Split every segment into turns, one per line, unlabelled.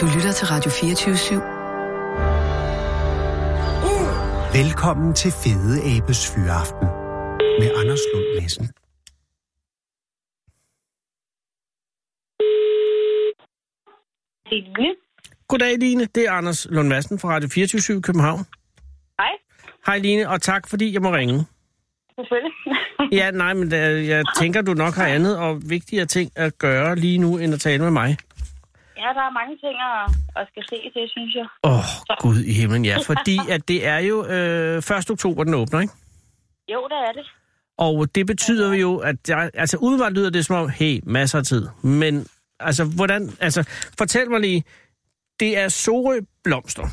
Du lytter til Radio 24-7.
Velkommen til Fede Abes Fyraften med Anders Lund Madsen.
Signe.
Goddag, Line. Det er Anders Lund Madsen fra Radio 24 København.
Hej,
Hej, Line, og tak, fordi jeg må ringe.
selvfølgelig.
Ja, nej, men øh, jeg tænker, du nok har andet og vigtigere ting at gøre lige nu, end at tale med mig.
ja, der er mange ting at, at skal se til, synes jeg.
Åh, oh, Gud i himlen, ja. Fordi at det er jo øh, 1. oktober, den åbner, ikke?
Jo, der er det.
Og det betyder jo, at jeg, altså udebart lyder det som om, hey, masser af tid. Men altså, hvordan, altså, fortæl mig lige, det er Sorø Blomster,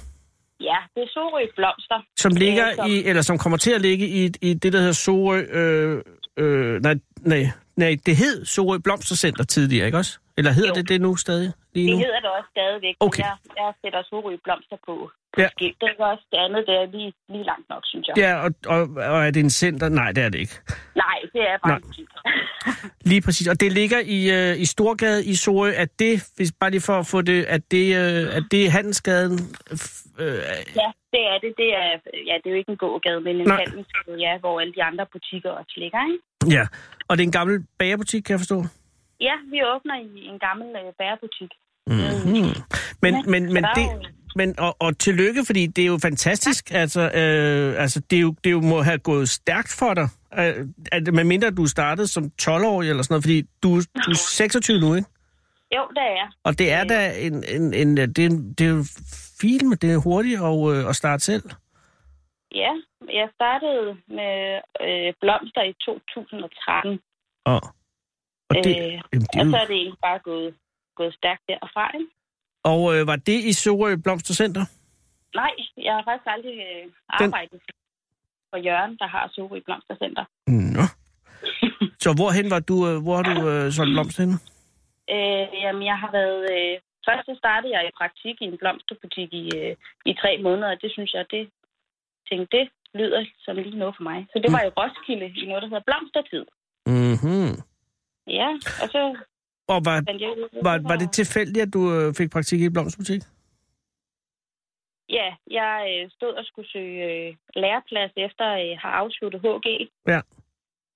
Ja, det er Sorø Blomster.
som
Øh,
ligger
som-
i, eller som kommer til at ligge i, i det, der hedder Sorø, øh, øh, nej, nej, nej, det hed Sorø Blomstercenter tidligere, ikke også? Eller hedder
Jo.
det det nu stadig? Lige
Det
nu?
hedder det også stadigvæk.
Okay.
men Jeg, jeg sætter Sorø Blomster på.
Ja.
Ja. Det er også det andet, det er lige, lige langt nok, synes jeg.
Ja, og, og, og er det en center? Nej, det er det ikke.
Nej, det er faktisk ikke.
Lige præcis. Og det ligger i, øh, i Storgade i Sorø. Er det, hvis bare lige for at få det, at det, øh, at det Handelsgaden? f- Øh,
Ja, det er det. Det er, ja, det er jo ikke en gågade, men en
Nej.
handelsgade, ja, hvor alle de andre butikker også ligger, ikke?
ja. Og det er en gammel bagerbutik, kan jeg forstå.
Ja, vi åbner i en gammel øh, bærebutik. Øh,
Mm-hmm. Men,
Ja,
men, men
så der
det...
er jo-
Men, og, og tillykke, fordi det er jo fantastisk. Altså, øh, altså det, er jo, det er jo må have gået stærkt for dig. Øh, at, medmindre du startede som 12-årig eller sådan noget, fordi du, du er 26 nu, ikke?
Jo, der er.
Og det er
Ja.
da en, en, en, øh, det er, en- det er jo fint, men det er hurtigt at, øh, at starte selv.
Ja, jeg startede med øh, blomster i 2013.
Og, og, det,
Øh,
jamen, det er
Og så
jo,
er det egentlig bare gået, gået stærkt derfra. Ikke?
og øh, var det i Sorø Blomstercenter?
Nej, jeg har faktisk aldrig øh, arbejdet Den... for Jørgen, der har Sorø Blomstercenter.
Nå. Så hvorhen var du, øh, hvor har du øh, solgt blomster henne?
Øh, jamen, jeg har været... Øh, først så startede jeg i praktik i en blomsterbutik i, øh, i tre måneder, og det synes jeg, det tænkte, det lyder som lige noget for mig. Så
Mm.
det var i Roskilde i noget, der hedder Blomstertid.
Mm-hmm.
Ja, og så
Og var,
fandt jeg ud af-
var, var det tilfældigt, at du øh, fik praktik i en blomsterbutik?
Ja, jeg øh, stod og skulle søge øh, læreplads efter at øh, have afsluttet HG.
Ja.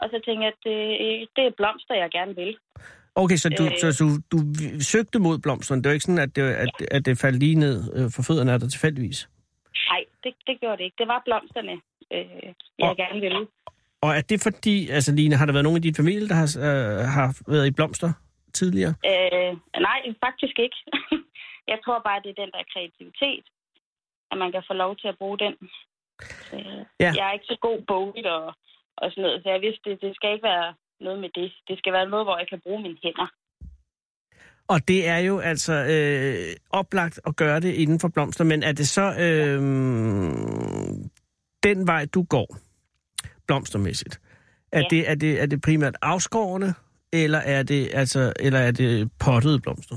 Og så tænkte jeg, at øh, det er blomster, jeg gerne vil.
Okay, så du,
Øh.
øh, så du, du vi- søgte mod blomsterne. Det var ikke sådan, at det, at, at det faldt lige ned øh, for fødderne af dig tilfældigvis.
Nej, det, det gjorde det ikke. Det var blomsterne, øh, jeg
Og-
gerne ville.
Og er det fordi, altså Line, har der været nogen i din familie, der har, øh, har været i blomster tidligere?
Øh, nej, faktisk ikke. jeg tror bare, det er den der kreativitet, at man kan få lov til at bruge den. Øh,
Ja.
Jeg er ikke så god bogligt og, og sådan noget, så jeg vidste, det, det skal ikke være noget med det. Det skal være noget, hvor jeg kan bruge mine hænder.
Og det er jo altså øh, oplagt at gøre det inden for blomster, men er det så øh, den vej, du går blomstermæssigt? Er,
Ja.
det, er, det, er det primært afskårende, eller er det, altså, eller er det pottede blomster?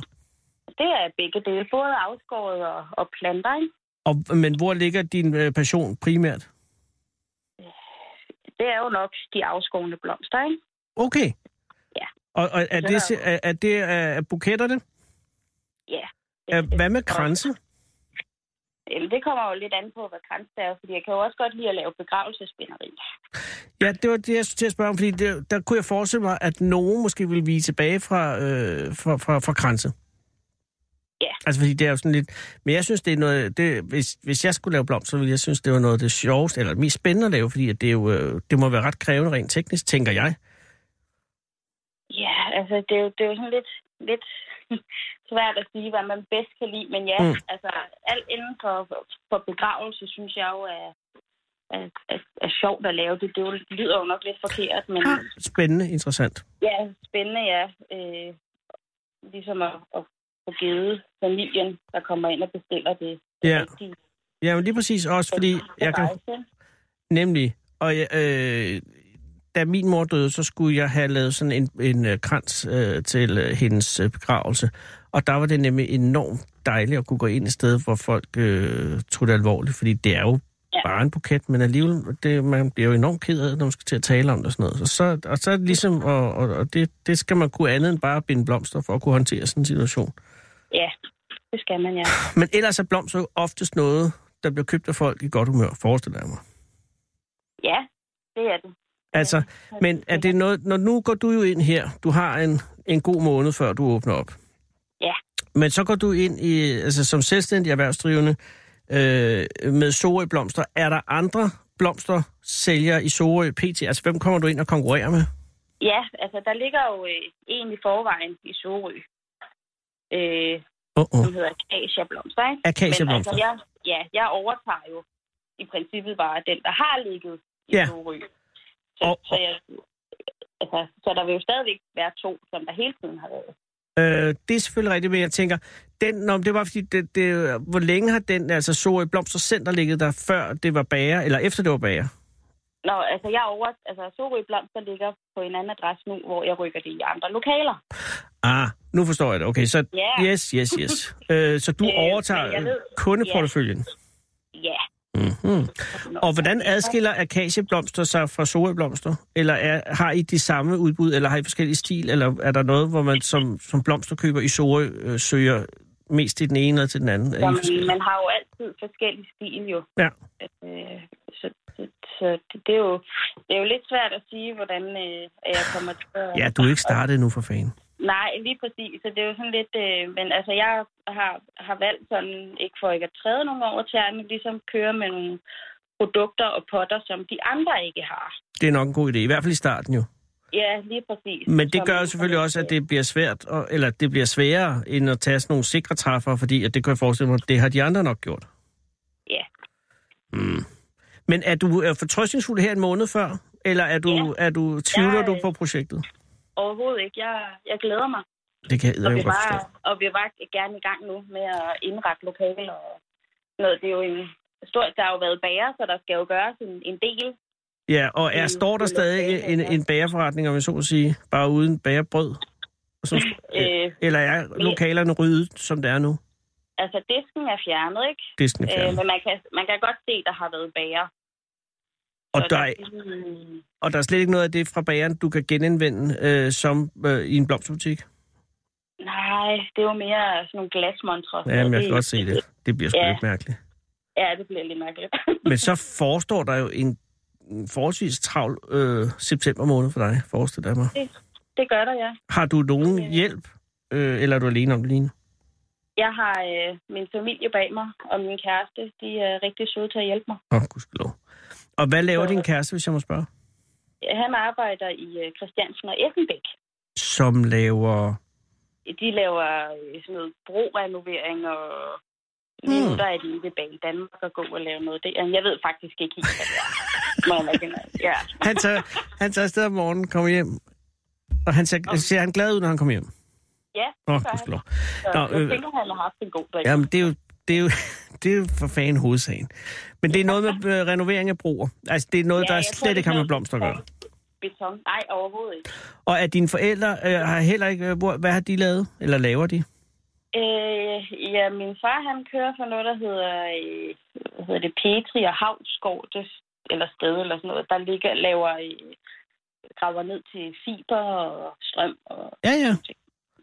Det er begge dele, både afskåret og, og planter, ikke?
Og, men hvor ligger din øh, passion primært?
det er jo nok de afskårende blomster, ikke?
Okay.
Ja.
Og, og
Så
er, det,
der
si- er, er det er, er buketterne?
Ja.
Er, hvad med kranse?
Jamen, det kommer jo lidt an på, hvad krans det er, fordi jeg kan jo også godt lide at lave begravelsesbinderi.
Ja, det var det, jeg skulle til at spørge om, fordi det, der kunne jeg forestille mig, at nogen måske ville vige tilbage fra, øh, fra, fra, fra kranse.
Ja.
Altså, fordi det er jo sådan lidt... Men jeg synes, det er noget... Det, hvis, hvis jeg skulle lave blomster, ville jeg synes, det var noget af det sjoveste, eller det mest spændende at lave, fordi at det, er jo, øh, det må være ret krævende rent teknisk, tænker jeg.
Ja, altså, det er jo, det er jo sådan lidt, lidt svært at sige, hvad man bedst kan lide, men ja,
Mm.
mm. altså, alt inden for, for begravelse, synes jeg jo er, er, er, er sjovt at lave. Det, det jo- lyder jo nok lidt forkert, men
Spændende, interessant.
ja, spændende, ja. Øh, ligesom at, at få givet familien, der kommer ind og bestiller det, det
Ja.
rigtige.
Ja, men lige præcis også, fordi jeg kan...
rejse.
Nemlig. Og jeg, øh, da min mor døde, så skulle jeg have lavet sådan en, en øh, krans øh, til øh, hendes øh, begravelse. Og der var det nemlig enormt dejligt at kunne gå ind et sted, hvor folk øh, tog det alvorligt, fordi det er jo
Ja.
ja. bare en buket, men alligevel, det, man bliver jo enormt ked af, det, når man skal til at tale om det og sådan noget. Og så, og så er det ligesom, og, og, og det, det skal man kunne andet end bare at binde blomster for at kunne håndtere sådan en situation.
Ja, Det skal man, ja.
Men ellers er blomster jo oftest noget, der bliver købt af folk i godt humør, forestiller jeg mig.
Ja, det er det.
Altså, men er det noget, når nu går du jo ind her, du har en, en god måned, før du åbner op.
Ja.
Men så går du ind i, altså som selvstændig erhvervsdrivende øh, med Sorø Blomster. Er der andre blomstersælgere i Sorø PT? Altså, hvem kommer du ind og konkurrerer med?
Ja, altså der ligger jo øh, en i forvejen i Sorø, øh,
Åh, oh,
som hedder Acacia Blomster, ikke? Men
Akacia-blomster.
altså, jeg, ja, jeg overtager jo i princippet bare den, der har ligget i
Ja.
ja. Sorø. Så,
Og-
så, jeg, altså, så der vil jo stadigvæk være to, som der hele tiden har været.
Øh, det er selvfølgelig rigtigt, men jeg tænker, den, nå, men det var fordi, det, det, hvor længe har den, altså Sorø Blomstercenter ligget der, før det var bager, eller efter det var bager?
Nå, altså jeg over, altså Sorø Blomster ligger på en anden adresse nu, hvor jeg rykker det i andre lokaler.
Ah, nu forstår jeg det. Okay, så
Ja.
yes, yes, yes. øh, så du
Øh, men
overtager
jeg ved-
kundeporteføljen.
Ja.
Mm-hmm. Og hvordan adskiller akacieblomster sig fra sorøblomster? Eller er, har I de samme udbud, eller har I forskellige stil? Eller er der noget, hvor man som, som blomsterkøber i Sorø øh, søger mest til den ene eller til den anden? Er I
Som,
forskellige?
man har jo altid forskellig stil jo.
Ja.
Øh, så så, så det, det, er jo, det er jo lidt svært at sige, hvordan øh, at jeg kommer til at...
Ja, du er ikke startet endnu for fanden.
Nej, lige præcis. Så det er jo sådan lidt... Øh, men altså, jeg har, har valgt sådan, ikke for ikke at træde nogen over tæerne, men ligesom køre med nogle produkter og potter, som de andre ikke har.
Det er nok en god idé, i hvert fald i starten jo.
Ja, lige præcis.
Men det
Som-
gør jo selvfølgelig også, at det bliver svært, og, eller det bliver sværere, end at tage sådan nogle sikre træffere, fordi at det kan jeg forestille mig, det har de andre nok gjort.
Ja.
Mm. Men er du er fortrøstningsfuld her en måned før, eller er du, ja. er du, tvivler
Jeg-
du på projektet?
Overhovedet ikke. Jeg, jeg glæder mig.
Det kan jeg
Og
jo
vi,
godt forstå.
var, og vi var gerne i gang nu med at indrette lokaler og sådan noget. Det er jo en stor, der har jo været bager, så der skal jo gøres en, en del.
Ja, og er,
Mm,
står
det
der
er
stadig
lokale,
en,
ja.
en bagerforretning, om jeg så må sige, bare uden bagerbrød? Og Som,
Øh,
eller er lokalerne ryddet, som det er nu?
altså, disken er fjernet, ikke?
Disken er
Øh,
fjernet.
men man kan, man kan godt se, der har været bager.
Og
Så ligesom
der, er,
sådan-
og der er slet ikke noget af det fra bageren, du kan genanvende øh, som øh, i en blomsterbutik?
Nej, det er jo mere sådan nogle glasmontre.
Ja, men jeg kan godt se det. Det bliver sgu
Ja.
lidt mærkeligt.
Ja, det bliver lidt mærkeligt.
Men så forestår der jo en en forholdsvis travl øh, september måned for dig, forestiller jeg mig.
det gør der, ja.
Har du nogen
Ja.
hjælp, øh, eller er du alene om det lige nu?
Jeg har øh, min familie bag mig, og min kæreste, de er rigtig søde til at hjælpe mig.
Åh, oh, gudskelov. Og hvad laver
Så-
din kæreste, hvis jeg må spørge?
Han arbejder i øh, Christiansen og Effenbæk.
Som laver...
de laver øh, sådan noget brorenovering, og lige nu
Mm.
der er de ved Bane Danmark og gå og lave noget der. Jeg ved faktisk ikke helt, hvad det er. Må jeg nok indrømme. ja.
Han tager, han tager afsted om morgenen, kommer hjem, og han ser, ser han glad ud, når han kommer hjem.
ja,
Åh,
gør han.
gudskelov.
så
Nå,
jeg
øh,
tænker, han har haft en god dag.
Jamen, det er jo, det er jo, det er jo for fanden hovedsagen. Men det er noget med øh, renovering af broer. Altså, det er noget, ja, der
jeg tror,
slet
det
ikke har
er
med blomster at gøre.
noget Beton? Nej, overhovedet ikke.
Og at dine forældre øh, har heller ikke... Øh, hvor, hvad har de lavet? Eller laver de?
Øh, ja, min far, han kører for noget, der hedder, øh, hvad hedder det, Petri og Havsgård, det, eller sted, eller sådan noget, der ligger, laver, øh, graver ned til fiber og strøm og
Ja, ja.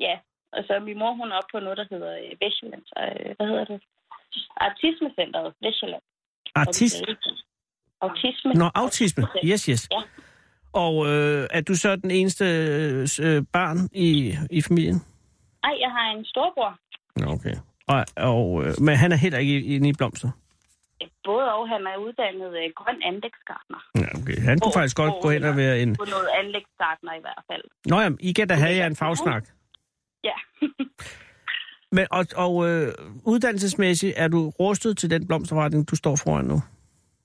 Ja, og så er min mor, hun er oppe på noget, der hedder øh, Vestjylland. Øh, hvad hedder det? Autismecenteret Vestjylland.
Artist.
Autisme.
Nå, autisme. Yes, yes.
Ja.
Og øh, er du så den eneste øh, s- øh, barn i, i familien?
Nej, jeg har en storbror.
Nå, okay. Og, og, øh, men han er heller ikke inde i blomster?
Både og, han er uddannet øh, grøn anlægsgartner.
Ja, okay. Han kunne
Hvor-
faktisk godt
hvor-
gå hen og være en...
På noget anlægsgartner i hvert fald.
Nå jamen, I kan da have jer en fagsnak.
Ja.
Men, og og øh, uddannelsesmæssigt, er du rustet til den blomsterforretning, du står foran nu?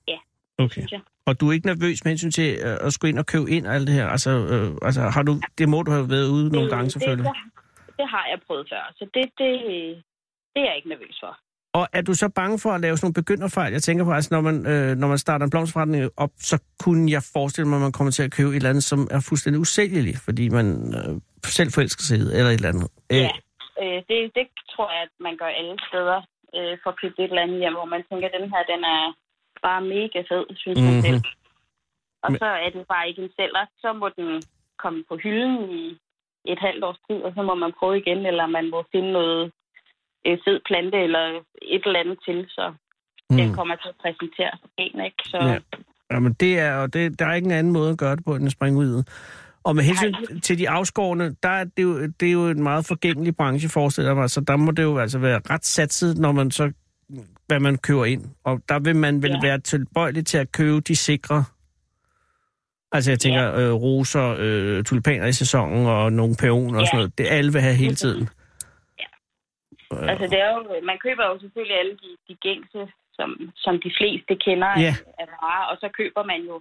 Ja,
Okay.
synes jeg.
Og du er ikke nervøs med hensyn til øh, at skulle ind og købe ind og alt det her? Altså, øh, altså har du, det må du have været ude nogle gange
Mm, Det-
selvfølgelig.
Det, det, det har jeg prøvet før, så det, det, det er jeg ikke nervøs for.
Og er du så bange for at lave sådan nogle begynderfejl? Jeg tænker på, altså, når man, øh, når man starter en blomsterforretning op, så kunne jeg forestille mig, at man kommer til at købe et eller andet, som er fuldstændig usælgeligt, fordi man øh, selv forelsker sig i det, eller et eller andet.
Ja. Øh, det, det tror jeg, at man gør alle steder øh, for at købe et eller andet hjem, hvor man tænker, at den her, den er bare mega fed, synes mm-hmm.
Mhm.
man selv. Og
Men-
så er den bare ikke en sælger. Så må den komme på hylden i et halvt års tid, og så må man prøve igen, eller man må finde noget øh, fed plante eller et eller andet til, så mm. den kommer til at præsentere en, ikke? Så
Ja.
ja.
Jamen, det er, og det, der er ikke en anden måde at gøre det på, end at springe ud. i det. Og med hensyn
Nej.
til de afskårende, der er det, jo, det er jo en meget forgængelig branche, forestiller jeg mig. Så der må det jo altså være ret satset, når man så, hvad man køber ind. Og der vil man vel ja.
Ja.
være tilbøjelig til at købe de sikre. Altså jeg tænker, ja. øh, roser, øh, tulipaner i sæsonen og nogle peoner ja. og
Ja.
sådan noget. Det alle vil have hele tiden.
altså, det er jo, man køber jo selvfølgelig alle de, de gængse, som, som de fleste kender
Ja.
af, af varer, og så køber man jo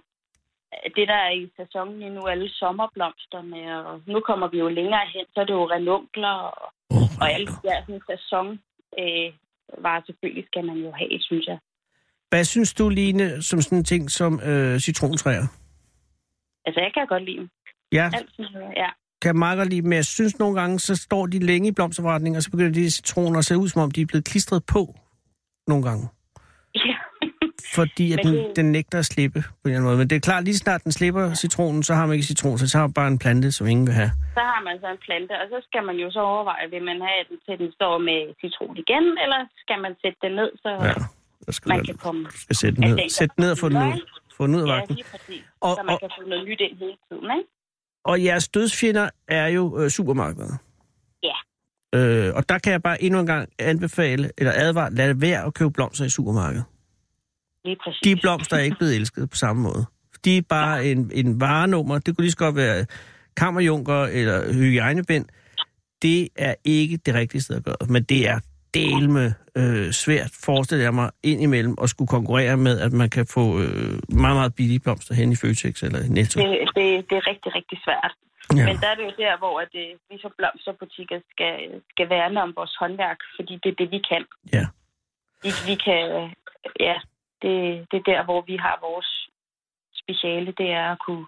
øh, det, der er i sæsonen lige nu, alle sommerblomsterne, og nu kommer vi jo længere hen, så er det jo ranunkler og
Oh,
Og alle de der sådan, sæson øh, varer selvfølgelig skal man jo have, synes jeg.
Hvad synes du, Line, som sådan en ting som øh, citrontræer?
Altså, jeg kan godt lide dem.
Ja,
Alt sådan noget, ja.
kan meget godt lide, men jeg synes nogle gange, så står de længe i blomsterforretningen, og så begynder de citroner at se ud, som om de er blevet klistret på nogle gange.
ja.
Fordi at
Men
den,
det-
den nægter at slippe på en eller anden måde. Men det er klart, lige snart den slipper citronen, så har man ikke citron, så tager man bare en plante, som ingen vil have.
Så har man så en plante, og så skal man jo så overveje, vil man have den til, den står med citron igen, eller skal man sætte den ned, så
Ja,
ja,
der skal
man
du-
kan komme...
skal sætte den ned. Sæt den ned og få den ud. Få den ud af
Ja,
vagten.
lige præcis.
Og-
Og, så man
og-
kan få noget nyt ind hele tiden, ikke?
Og jeres dødsfjender er jo øh, supermarkedet.
Ja.
Øh, og der kan jeg bare endnu en gang anbefale, eller advare, lad være at købe blomster i supermarkedet.
Lige præcis.
de blomster er ikke blevet elsket på samme måde. De er bare en, en varenummer. Det kunne lige så godt være kammerjunker eller hygiejnebind. Det er ikke det rigtige sted at gøre det, men det er delme øh, svært, forestiller jeg mig, indimellem at skulle konkurrere med, at man kan få øh, meget, meget billige blomster hen i Føtex eller i Netto.
det, det, det er rigtig, rigtig svært. Ja. Men der er det jo der, hvor at, øh, vi som blomsterbutikker skal, skal værne om vores håndværk, fordi det er det, vi kan.
Ja.
Vi, vi kan, ja, det, det er der, hvor vi har vores speciale, det er at kunne,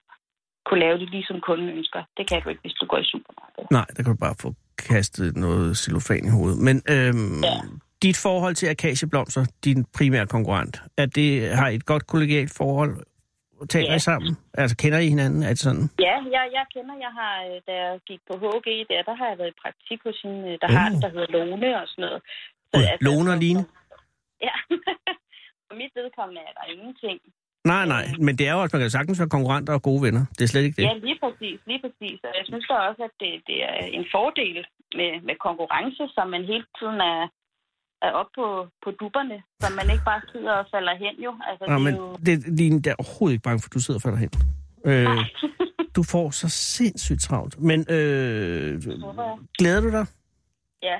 kunne lave det lige som kunden ønsker. Det kan du ikke, hvis du går i supermarkedet.
Nej, der kan du bare få kastet noget cellofan i hovedet. Men øhm, ja.
Ja.
dit forhold til akacieblomster, din primære konkurrent, er det, har I et godt kollegialt forhold? Taler ja.
Ja.
I sammen? Altså, kender I hinanden? Er det sådan?
Ja, jeg, jeg kender, jeg har, øh, da jeg gik på HG, der, der har jeg været i praktik hos hende, øh, der
Uh.
har en, der hedder Lone og sådan noget. altså,
Gud, Lone og Line?
Ja, for mit vedkommende er der ingenting.
Nej, nej, men det er jo også, man kan sagtens være konkurrenter og gode venner. Det er slet ikke det.
Ja, lige præcis, lige præcis. Og jeg synes da også, at det, det er en fordel med, med konkurrence, så man hele tiden er, er oppe på, på dupperne, så man ikke bare sidder og falder hen jo. Altså,
Nå,
det
men
er jo...
det, Line, det er overhovedet ikke bange for, at du sidder og falder hen. Øh,
Nej.
du får så sindssygt travlt. Men øh,
håber jeg.
glæder du dig?
Ja,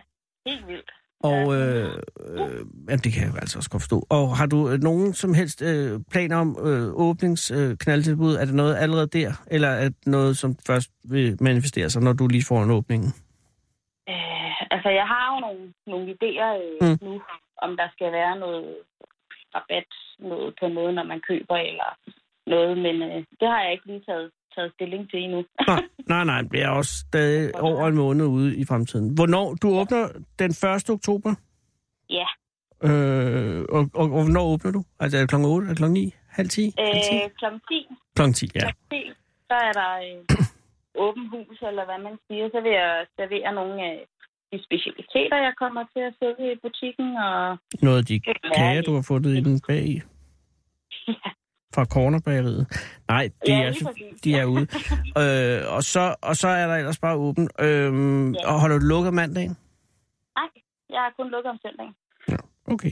helt vildt.
Og øh, øh, jamen, det kan jeg jo altså også godt forstå. Og har du øh, nogen som helst øh, planer om øh, åbningsknaldtilbud? Øh, er det noget allerede der, eller er det noget, som først vil manifestere sig, når du lige får en åbning?
Øh, altså, jeg har jo nogle, nogle idéer øh,
Mm.
mm. nu, om der skal være noget rabat noget på noget, når man køber eller noget, men øh, det har jeg ikke lige taget, taget stilling til endnu.
Nej, nej, nej, det er også stadig over en måned ude i fremtiden. Hvornår? Du åbner den 1. oktober,
ja,
øh, og, og, og hvornår åbner du? Altså er det klokken 8, er det klokken 9, halv 10? Halv 10?
øh, klokken 10
Klokken 10, ja.
café, så er der øh, åben hus, eller hvad man siger. Så vil jeg servere nogle af de specialiteter, jeg kommer til at sælge i butikken. Og
Noget af de
det kan være
kager, du har fundet i den bag i. Fra cornerbageriet. Nej, de,
Ja,
er,
lige præcis.
de er ude. øh, og, så, og så er der ellers bare åben. Øhm,
Ja.
Og holder du lukket mandagen?
Nej, jeg har kun lukket om søndagen.
Okay.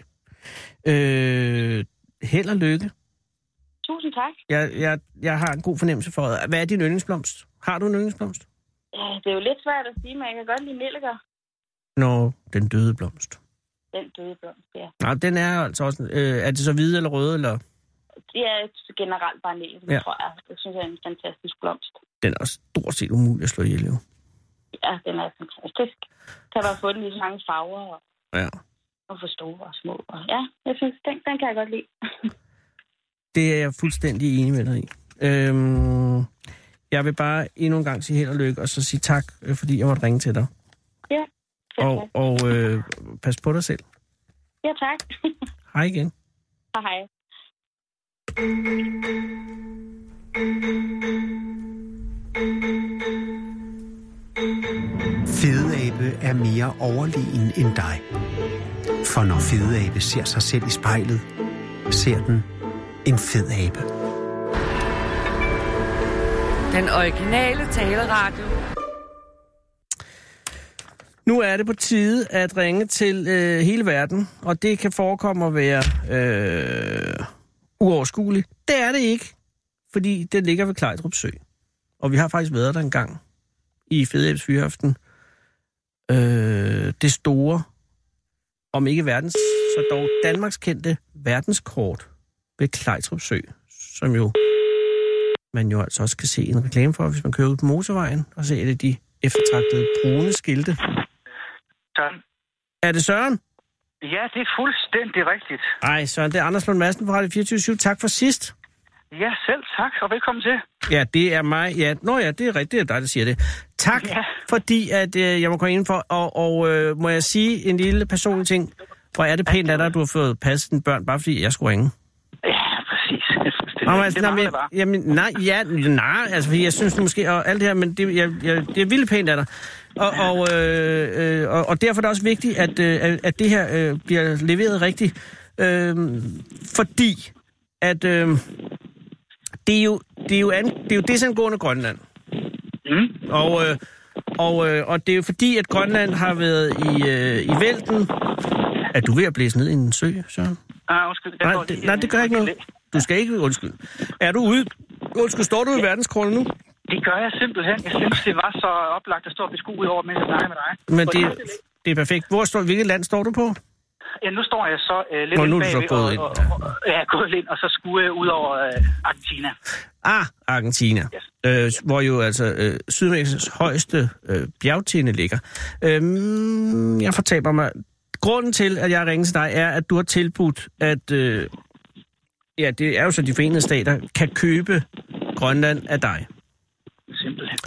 Øh, held og lykke.
Tusind tak.
Jeg, jeg, jeg har en god fornemmelse for det. Hvad er din yndlingsblomst? Har du en yndlingsblomst?
Ja, Øh, det er jo lidt svært at sige, men jeg kan godt lide nelliker.
Nå, den døde blomst.
Den døde blomst, ja.
Nej, den er altså også... Øh, er det så hvide eller røde? Eller?
Det er generelt bare nelliker,
Ja.
ja. tror jeg. Det synes jeg er en fantastisk blomst.
Den er også stort set umulig at slå ihjel, jo.
Ja, den er fantastisk. Kan bare få den i så mange farver, og,
Ja.
og for store og små. Og, ja, jeg synes, den, den kan jeg godt lide.
Det er jeg fuldstændig enig med dig i. Øhm, jeg vil bare endnu en gang sige held og lykke, og så sige tak, øh, fordi jeg måtte ringe til dig.
Ja, selv
Og,
tak.
og øh, pas på dig selv.
Ja, tak.
Hej igen.
Hej, hej.
Fedeabe er mere overlegen end dig. For når fede abe ser sig selv i spejlet, ser den en fed abe.
Den originale taleradio.
Nu er det på tide at ringe til øh, hele verden, og det kan forekomme at være øh, uoverskueligt. Det er det ikke, fordi det ligger ved Klejdrup Sø. Og vi har faktisk været der en gang i Fedeabs Fyrhøften. Øh, det store, om ikke verdens, så dog Danmarks kendte verdenskort ved Klejdrup Sø, som jo man jo altså også kan se en reklame for, hvis man kører ud på motorvejen, og så er det de eftertragtede brune skilte.
Sådan.
Er det Søren?
Ja, det er fuldstændig rigtigt.
Nej, Søren, det er Anders Lund Madsen fra Radio 24 Tak for sidst.
Ja, selv tak, og velkommen til.
Ja, det er mig. Ja, nå ja, det er rigtigt, det er dig, der siger det. Tak, ja.
Ja.
fordi at, øh, jeg må komme indenfor, og, og øh, må jeg sige en lille personlig ting? Hvor er det pænt af dig, at du har fået passet dine børn, bare fordi jeg skulle ringe.
Ja, præcis. Det,
Nå, men
det
altså, nej,
mangler
men,
bare.
jamen, nej, ja, nej, altså, fordi jeg synes måske, og alt det her, men det, jeg, jeg, det er vildt pænt af dig. Og, og, øh, øh, og, og derfor er det også vigtigt, at, øh, at- at det her øh, bliver leveret rigtigt. Øh, fordi, at øh, det, er jo, det, er jo an, det er jo desangående Grønland.
Mm.
Og, øh, og, øh, og det er jo fordi, at Grønland har været i, øh, i vælten. Er du ved at blæse ned i en sø, Søren?
Ah, undskyld. jeg
Nej,
går
det,
lige-
nej, det gør ikke noget. Du skal ikke undskyld. Er du ude? Undskyld, står du i verdenskortet nu?
Det gør jeg simpelthen. Jeg synes, det var så oplagt at stå og beskue ud over, mens jeg snakker med dig.
Men
Og
det, det er perfekt. Hvor står, hvilket land står du på?
Ja, nu står jeg så øh, lidt
Nå,
ind
nu er du så
bagved
gået
og,
ind.
Og, og, ja, gået ind, og så skue øh, ud over øh, Argentina.
Ah, Argentina. Øh, hvor jo altså øh, Sydamerikas højeste øh, bjergtinde ligger. Øhm, jeg fortaber mig. Grunden til, at jeg ringer til dig, er, at du har tilbudt, at øh, ja, det er jo så de forenede stater, kan købe Grønland af dig.
Simpelthen.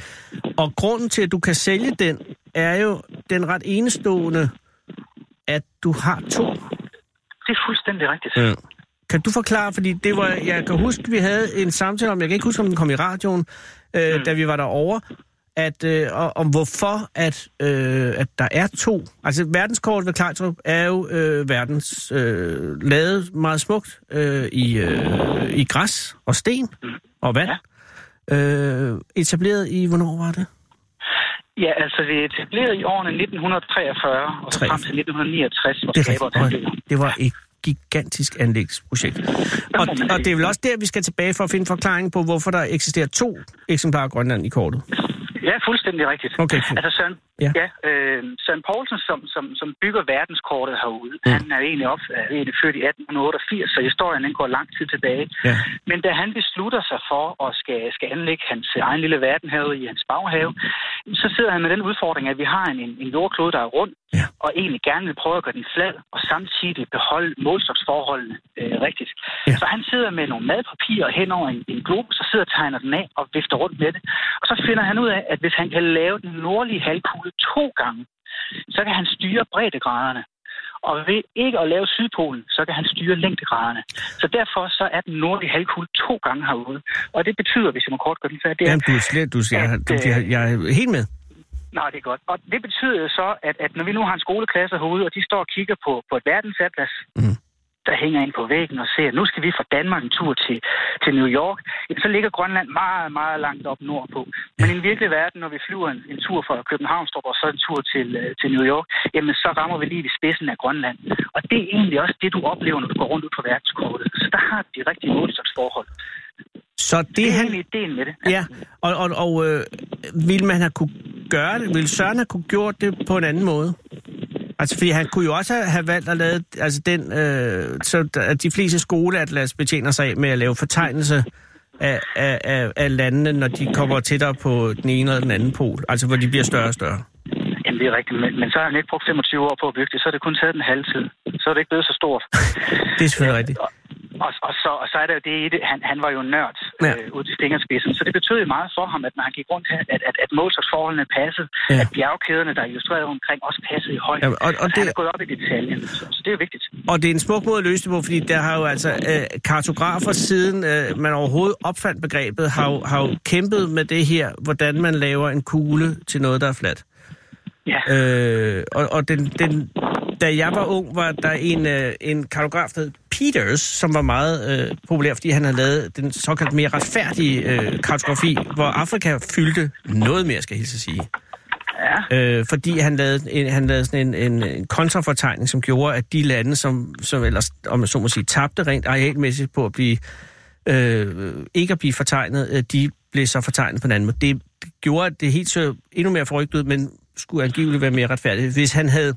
Og grunden til, at du kan sælge den, er jo den ret enestående, at du har to.
Det er fuldstændig rigtigt.
Ja. Kan du forklare, fordi det var, jeg kan huske, vi havde en samtale om, jeg kan ikke huske, om den kom i radioen, øh, da vi var derovre, at, øh, og, om hvorfor, at, øh, at der er to. Altså, verdenskortet ved Klartrup er jo øh, verdens øh, lavet meget smukt øh, i, øh, i græs og sten og vand. Øh, etableret i, hvornår var det?
Ja, altså det er etableret i årene 1943 og så frem til 1969, hvor
Det, er
skaberen
rigtigt.
blev.
Og det var et gigantisk anlægsprojekt. Og, og altså, det er vel også der, vi skal tilbage for at finde forklaringen på, hvorfor der eksisterer to eksemplarer af Grønland i kortet.
Ja, fuldstændig rigtigt.
Okay, cool.
Altså Søren,
Ja.
ja. Ja, øh, Søren Poulsen, som, som, som bygger verdenskortet herude, mm. han er egentlig, op, er egentlig født i 1888, så historien den går lang tid tilbage.
Ja.
Men da han beslutter sig for at skal, skal anlægge hans egen lille verden herude i hans baghave, så sidder han med den udfordring, at vi har en, en, en jordklode, der er rund,
Ja.
og egentlig gerne vil prøve at gøre den flad, og samtidig beholde målstoksforholdene øh, rigtigt.
Ja.
Ja. Så han sidder med nogle madpapirer hen over en, en globus, og sidder og tegner den af og vifter rundt med det. Og så finder han ud af, at hvis han kan lave den nordlige halvkugle to gange, så kan han styre breddegraderne. Og ved ikke at lave Sydpolen, så kan han styre længdegraderne. Så derfor så er den nordlige halvkugle to gange herude. Og det betyder, hvis jeg må kort gøre den færdig, det er,
Jamen, du er slet, du, jeg, du, jeg, jeg er helt med.
Nej, det er godt. Og det betyder jo så, at, at når vi nu har en skoleklasse herude, og de står og kigger på, på et verdensatlas,
Mm.
mm. der hænger ind på væggen og ser, at nu skal vi fra Danmark en tur til, til New York, jamen, så ligger Grønland meget, meget langt op nordpå. Men i den virkelige verden, når vi flyver en, en tur fra København og så en tur til, øh, til New York, jamen så rammer vi lige ved spidsen af Grønland. Og det er egentlig også det, du oplever, når du går rundt ud på verdenskortet. Så der har de rigtige målstoksforhold.
Så
Det
det
er
han...
egentlig ideen med det.
Ja, og, og, og øh, ville man have kunne gøre det? Ville Søren have kunne gjort det på en anden måde? Altså, fordi han kunne jo også have- have valgt at lave altså den, øh, så der- at de fleste skoleatlas betjener sig af med at lave fortegnelse af, af, af, af landene, når de kommer tættere på den ene eller den anden pol. Altså, hvor de bliver større og større.
Jamen, det er rigtigt, men, men så har han ikke brugt 25 år på at bygge det, så har det kun taget den halve tid. Så er det ikke blevet så stort.
Det er selvfølgelig rigtigt.
og, og, så, og så er der jo det i det, han, han var jo nørd
Ja.
ja. øh, ud til fingerspidsen, så det betød jo meget for ham, at når han gik rundt her, at, at, at målstoksforholdene passede,
Ja.
ja. at bjergkæderne, der er illustreret omkring, også passede i højde.
Jamen, og- og
så han
det-
er gået op i detaljen, så, så det er jo vigtigt.
Og det er en smuk måde at løse det på, fordi der har jo altså øh, kartografer siden øh, man overhovedet opfandt begrebet, har jo, har jo kæmpet med det her, hvordan man laver en kugle til noget, der er fladt.
Ja,
Øh, og og den, den, da jeg var ung, var der en, øh, en kartograf, der hed Peters, som var meget øh, populær, fordi han havde lavet den såkaldt mere retfærdige øh, kartografi, hvor Afrika fyldte noget mere, skal jeg hilse at sige. Ja. Øh, fordi han lavede, en, han lavede sådan en, en, en kontrafortegning, som gjorde, at de lande, som, som ellers, om man så må sige, tabte rent arealmæssigt på at blive, øh, ikke at blive fortegnet, øh, de blev så fortegnet på en anden måde. Det gjorde, at det helt så endnu mere forrygt ud, men skulle angiveligt være mere retfærdigt. Hvis han havde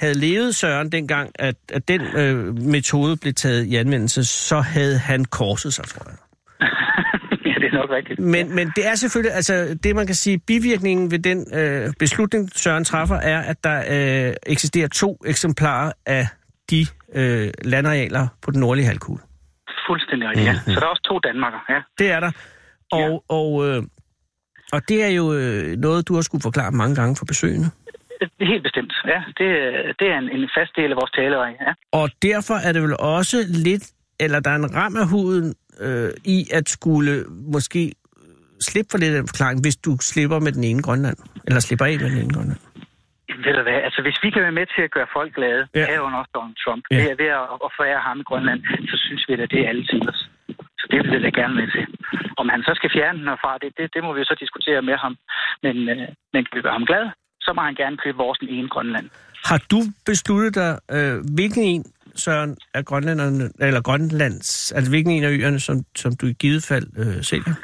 havde levet Søren dengang, at, at den øh, metode blev taget i anvendelse, så havde han korset sig, tror jeg.
ja, det er nok rigtigt.
Men, men det er selvfølgelig, altså det man kan sige, bivirkningen ved den øh, beslutning, Søren træffer, er, at der øh, eksisterer to eksemplarer af de øh, landarealer på den nordlige halvkugle.
Fuldstændig rigtigt, ja. Så der er også to Danmarker, ja.
Det er der. Og,
Ja.
og, øh, og det er jo øh, noget, du har skulle forklare mange gange for besøgende.
Helt bestemt, ja. Det, det er en, en fast del af vores talerøg, ja.
Og derfor er det vel også lidt, eller der er en ram af huden øh, i at skulle måske slippe for lidt af den forklaring, hvis du slipper med den ene Grønland. Eller slipper af med den ene Grønland.
Jamen, ved du hvad, altså hvis vi kan være med til at gøre folk glade,
Ja.
ja. herunder også Donald Trump,
Ja.
ja. ved, at- ved at, at forære ham i Grønland, så synes vi da, det er alle tiders. Så det vil jeg da gerne med til. Om han så skal fjerne den herfra, det, det, det må vi jo så diskutere med ham. Men, øh, men kan vi gøre ham glad, så må han gerne købe vores den ene Grønland.
Har du besluttet dig, øh, hvilken en, Søren, af Grønlanderne, eller Grønlands, altså hvilken en af øerne, som, som du i givet fald øh, sælger?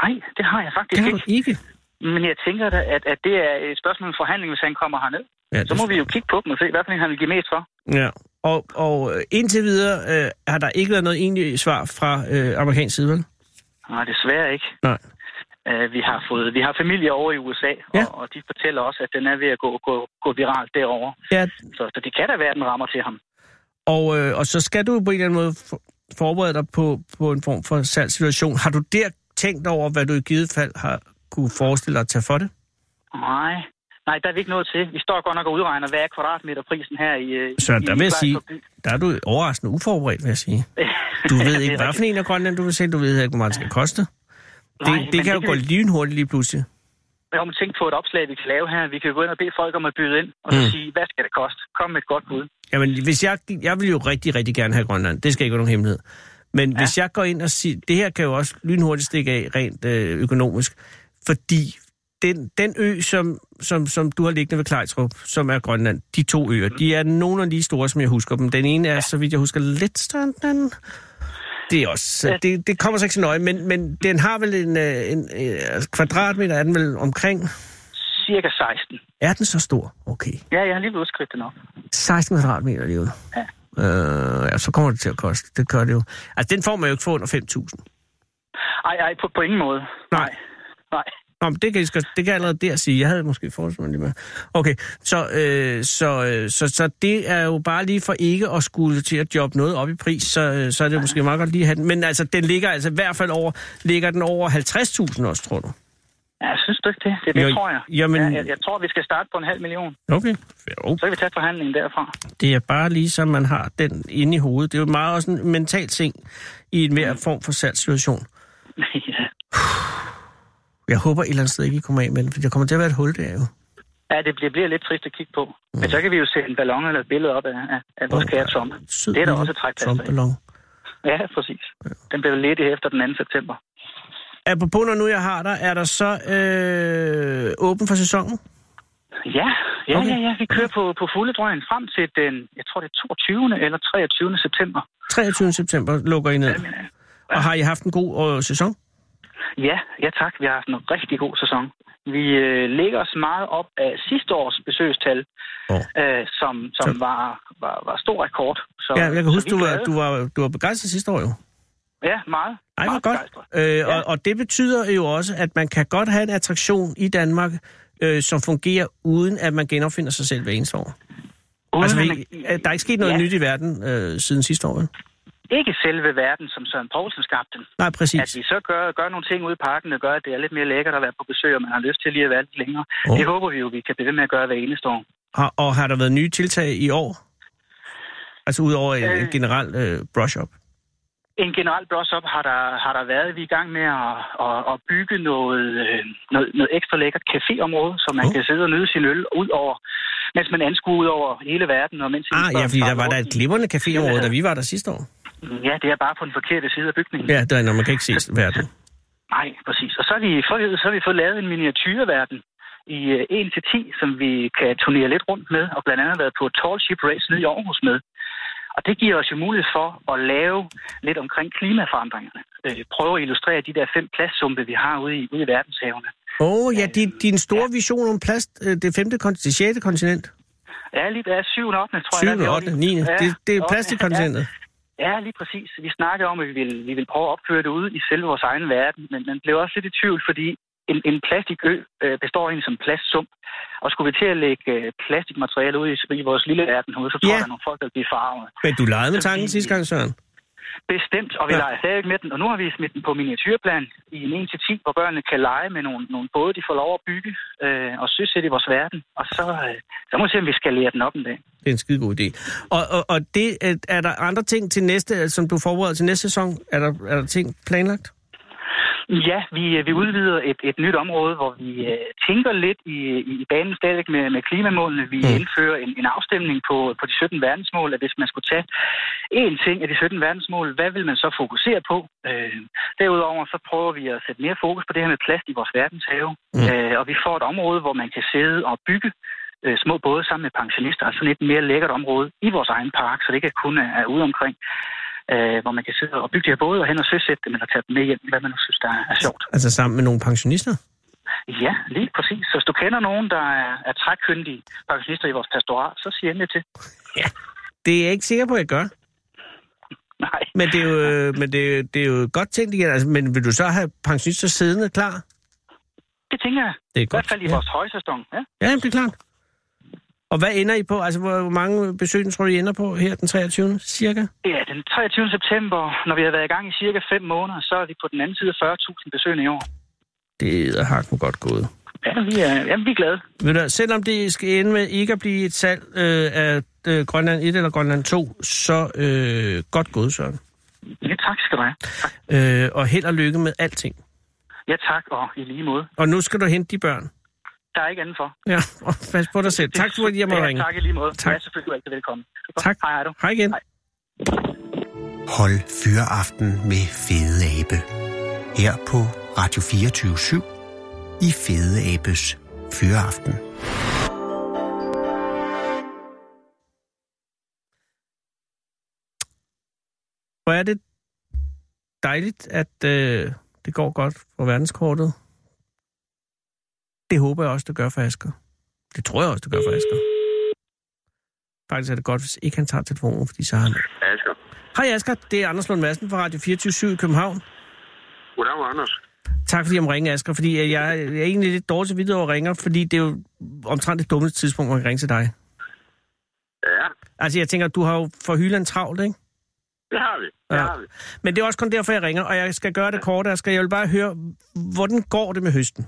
Nej, det har jeg
Det
faktisk
har du
ikke.
ikke.
Men jeg tænker da, at, at det er et spørgsmål om forhandling, hvis han kommer herned.
Ja,
Så må vi jo kigge på dem og se, hvad for en han vil give mest for.
Ja. Og, og øh, indtil videre øh, har der ikke været noget egentligt svar fra øh, amerikansk side, vel?
Nej, desværre ikke.
Nej.
Øh, vi har fået, vi har familie over i USA,
Ja.
ja. og, og de fortæller også, at den er ved at gå, gå, gå viral derovre.
Ja,
Så, så det kan da være, at den rammer til ham.
Og, øh, og så skal du på en eller anden måde for, forberede dig på, på en form for salgssituation. Har du der tænkt over, hvad du i givet fald har kunne forestille dig at tage for det?
Nej, nej, der er vi ikke noget til. Vi står godt nok og udregner, hvad er kvadratmeterprisen her i... øh,
Så
i,
der vil jeg sige,
Frederiksberg by.
der er du overraskende uforberedt, vil jeg sige. Du ved
Det
ikke,
er
hvad for en af Grønland du vil sælge, du ved ikke, hvor meget det skal koste. Det,
Nej,
det,
men
det kan jo
det
gå
kan vi-
lynhurtigt lige pludselig.
Jeg har tænkt på et opslag, vi kan lave her. Vi kan jo gå ind og bede folk om at byde ind, og så
Mm.
sige, hvad skal det koste? Kom med et godt bud.
Jamen, hvis jeg, jeg vil jo rigtig, rigtig gerne have Grønland. Det skal ikke være nogen hemmelighed. Men ja. hvis jeg går ind og siger, det her kan jo også lynhurtigt stikke af rent øh, økonomisk, fordi den, den ø, som, som, som du har liggende ved Klejtrup, som er Grønland, de to øer, de er nogenlunde lige store, som jeg husker dem. Den ene er, så vidt jeg husker, lidt større end den anden. Det, er også, det, det kommer sig ikke så nøje, men, men den har vel en, øh, en, en kvadratmeter, er den vel omkring?
Cirka 16.
Er den så stor? Okay.
Ja, jeg har lige blevet udskridt den op.
16 kvadratmeter lige ud.
Ja.
Øh, ja, så kommer det til at koste. Det gør det jo. Altså, den får man jo ikke for under 5.000.
Ej, ej, på, på ingen måde.
Nej.
Nej.
Nå, men det kan, jeg, skal- det kan jeg allerede der sige. Jeg havde måske forestillet mig lige med. Okay, så, øh, så, øh, så, så det er jo bare lige for ikke at skulle til at jobbe noget op i pris, så, øh, så er det måske meget godt lige at have den. Men altså, den ligger altså i hvert fald over, ligger den over 50.000 også, tror du?
Ja, jeg synes du ikke det? Det, det
Jo,
tror jeg.
jamen-
Ja, jeg. Jeg tror, vi skal starte på en halv million.
Okay. Jo,
Så kan vi tage forhandlingen derfra.
Det er bare ligesom, man har den inde i hovedet. Det er jo meget også en mental ting i en mere form for salgssituation.
ja.
Jeg håber et eller andet sted ikke, I kommer af med den, for der kommer til at være et hul der jo.
Ja, det bliver, bliver lidt trist at kigge på. Men så kan vi jo sætte en ballon eller et billede op af, af, af vores
Mm. Åh,
kære Trump.
Sød
Det er der
lille
også et trækplads af.
Trump-ballon.
Ja, præcis. Den blev ledig efter den 2. september.
Apropos, når nu jeg har dig, er der så øh, åben for sæsonen?
Ja,
Okay.
ja, okay. ja, ja. Vi kører på, på fulde drøjen frem til den, jeg tror det er 22. eller 23. september.
23. september lukker I ned. Og har I haft en god øh, sæson?
Ja, ja tak. Vi har haft en rigtig god sæson. Vi øh, lægger os meget op af sidste års besøgstal,
Åh.
øh, som, som
Så-
var, var, var stor rekord. Så,
Ja, jeg kan
så
huske,
vi
du
er
var,
glade.
du var, du var begejstret sidste år jo.
Ja, meget.
Ej, hvor
meget
godt.
begejstret.
Øh,
Ja.
og, og det betyder jo også, at man kan godt have en attraktion i Danmark, øh, som fungerer uden at man genopfinder sig selv hver eneste år.
Uden
Altså,
at
vi,
man-
der er ikke sket noget
ja,
ja. nyt i verden øh, siden sidste år, vel?
Ikke selve verden, som Søren Poulsen skabte den.
Nej,
At
præcis.
vi så gør, gør nogle ting ude i parken, der gør, at det er lidt mere lækkert at være på besøg, og man har lyst til lige at være lidt længere.
Åh.
Oh. Det håber vi jo, vi kan blive ved med at gøre hver eneste år.
Og, og har der været nye tiltag i år? Altså udover øh. en
Øh.
generel øh, brush-up?
En generel brush-up har der, har der været. Vi er i gang med at, at, at bygge noget, øh, noget, noget ekstra lækkert caféområde, så man
Åh.
kan sidde og nyde sin øl ud over mens man anskuer ud over hele verden. Og mens
Ah, ja, fordi der var der et glimrende caféområde,
Ja.
da vi var der sidste år.
Ja, det er bare på den forkerte side af bygningen.
Ja, der, når man kan ikke se verden.
Nej, præcis. Og så har vi, for- så har vi fået lavet en miniatyrverden i øh, 1-10, som vi kan turnere lidt rundt med, og blandt andet været på Tall Ship Race nede i Aarhus med. Og det giver os jo mulighed for at lave lidt omkring klimaforandringerne. Øh, prøve at illustrere de der fem plastsumpe, vi har ude i, ude i verdenshavene.
Åh, oh, ja, din, din store vision om plast, øh, det femte kontinent, det sjette kontinent,
Ja, lige ja, 7. og 8. tror jeg. det er,
7.
det
8.
er.
9.
Ja,
Det, det er
ottende,
plastikkontinentet.
Ja, ja, lige præcis. Vi snakkede om, at vi ville, vi ville prøve at opføre det ude i selve vores egen verden, men man blev også lidt i tvivl, fordi en, en plastikø øh, består egentlig som plastsump, og skulle vi til at lægge øh, plastikmateriale ud i, i vores lille verden herude, så tror
Ja.
jeg, der er nogle folk, der vil blive farvet.
Men du legede med
Så
tanken
vi-
sidste gang, Søren.
Bestemt, og vi
Ja.
ja. leger stadigvæk med den, og nu har vi smidt den på miniatyrplan i en 1-10, hvor børnene kan lege med nogle, nogle både, de får lov at bygge øh, og søsætte i vores verden, og så, øh, så må vi se, om vi skal lære den op en dag.
Det er en skide god idé. Og, og, og det, øh, er der andre ting til næste, øh, som du forbereder til næste sæson? Er der, er der ting planlagt?
Ja, vi, øh, vi udvider et, et nyt område, hvor vi øh, tænker lidt i, i, i banen stadigvæk med, med klimamålene. Vi
Mm.
mm. indfører en, en afstemning på, på de 17 verdensmål, at hvis man skulle tage én ting af de 17 verdensmål, hvad vil man så fokusere på? Øh, derudover så prøver vi at sætte mere fokus på det her med plast i vores verdenshave.
Mm.
Mm. Øh, og vi får et område, hvor man kan sidde og bygge øh, små både sammen med pensionister, altså sådan et mere lækkert område i vores egen park, så det ikke kun er, er ude omkring, øh, hvor man kan sidde og bygge de her både og hen og søsætte dem, eller tage dem med hjem, hvad man nu synes, der er sjovt.
Altså sammen med nogle pensionister?
Ja, lige præcis. Så hvis du kender nogen, der er, er trækkyndige pensionister i vores pastorat, så sig endelig til.
Det er jeg ikke sikker på, at jeg gør.
Nej,
Men det er jo, øh, men det, er- det er jo godt tænkt igen. Altså, men vil du så have pensionister siddende klar?
det tænker jeg.
Det er
I hvert fald i
ja.
vores højsæson. Ja.
Ja, jamen, det er klart. Og hvad ender I på? Altså, hvor mange besøgende tror du, I ender på her den 23. cirka?
ja, den 23. september, når vi har været i gang i cirka 5 måneder, så er vi på den anden side af 40.000 besøgende i år.
Det er hak godt gået.
Ja, vi er, jamen, vi er glade.
Ved du, hvad, selvom det skal ende med ikke at blive et salg øh, af øh, Grønland 1 eller Grønland 2, så øh, godt gået, Søren.
Ja, tak skal du have.
Øh, og held og lykke med alting.
Ja, tak, og i lige måde.
Og nu skal du hente de børn.
Der er ikke andet for.
Ja, og pas på dig selv. Tak for, at jeg måtte
Ja,
ringe.
Tak i lige måde.
Tak.
Tak. Ja, selvfølgelig du er altid velkommen. Super.
Tak.
Hej, hej du.
Hej igen.
Hej.
Hold fyreaften med Fede Abe. Her på Radio 24 i Fede Abes Fyreaften.
Hvor er det dejligt, at øh, det går godt for verdenskortet. Det håber jeg også, det gør for Asger. Det tror jeg også, det gør for Asger. Faktisk er det godt, hvis ikke han tager telefonen, fordi så har han...
Asger.
Hej Asger, det er Anders Lund Madsen fra Radio 24 i København.
Goddag, Anders.
Tak fordi jeg må ringe, Asger, fordi jeg, jeg er egentlig lidt dårlig til videre at ringe, fordi det er jo omtrent det dummeste tidspunkt, man kan ringe til dig.
Ja,
Altså jeg tænker, du har jo for hylden travlt, ikke?
det har vi. Det
Ja.
ja. har vi.
Men det er også kun derfor, jeg ringer, og jeg skal gøre det kort, Asger. Jeg vil bare høre, hvordan går det med høsten?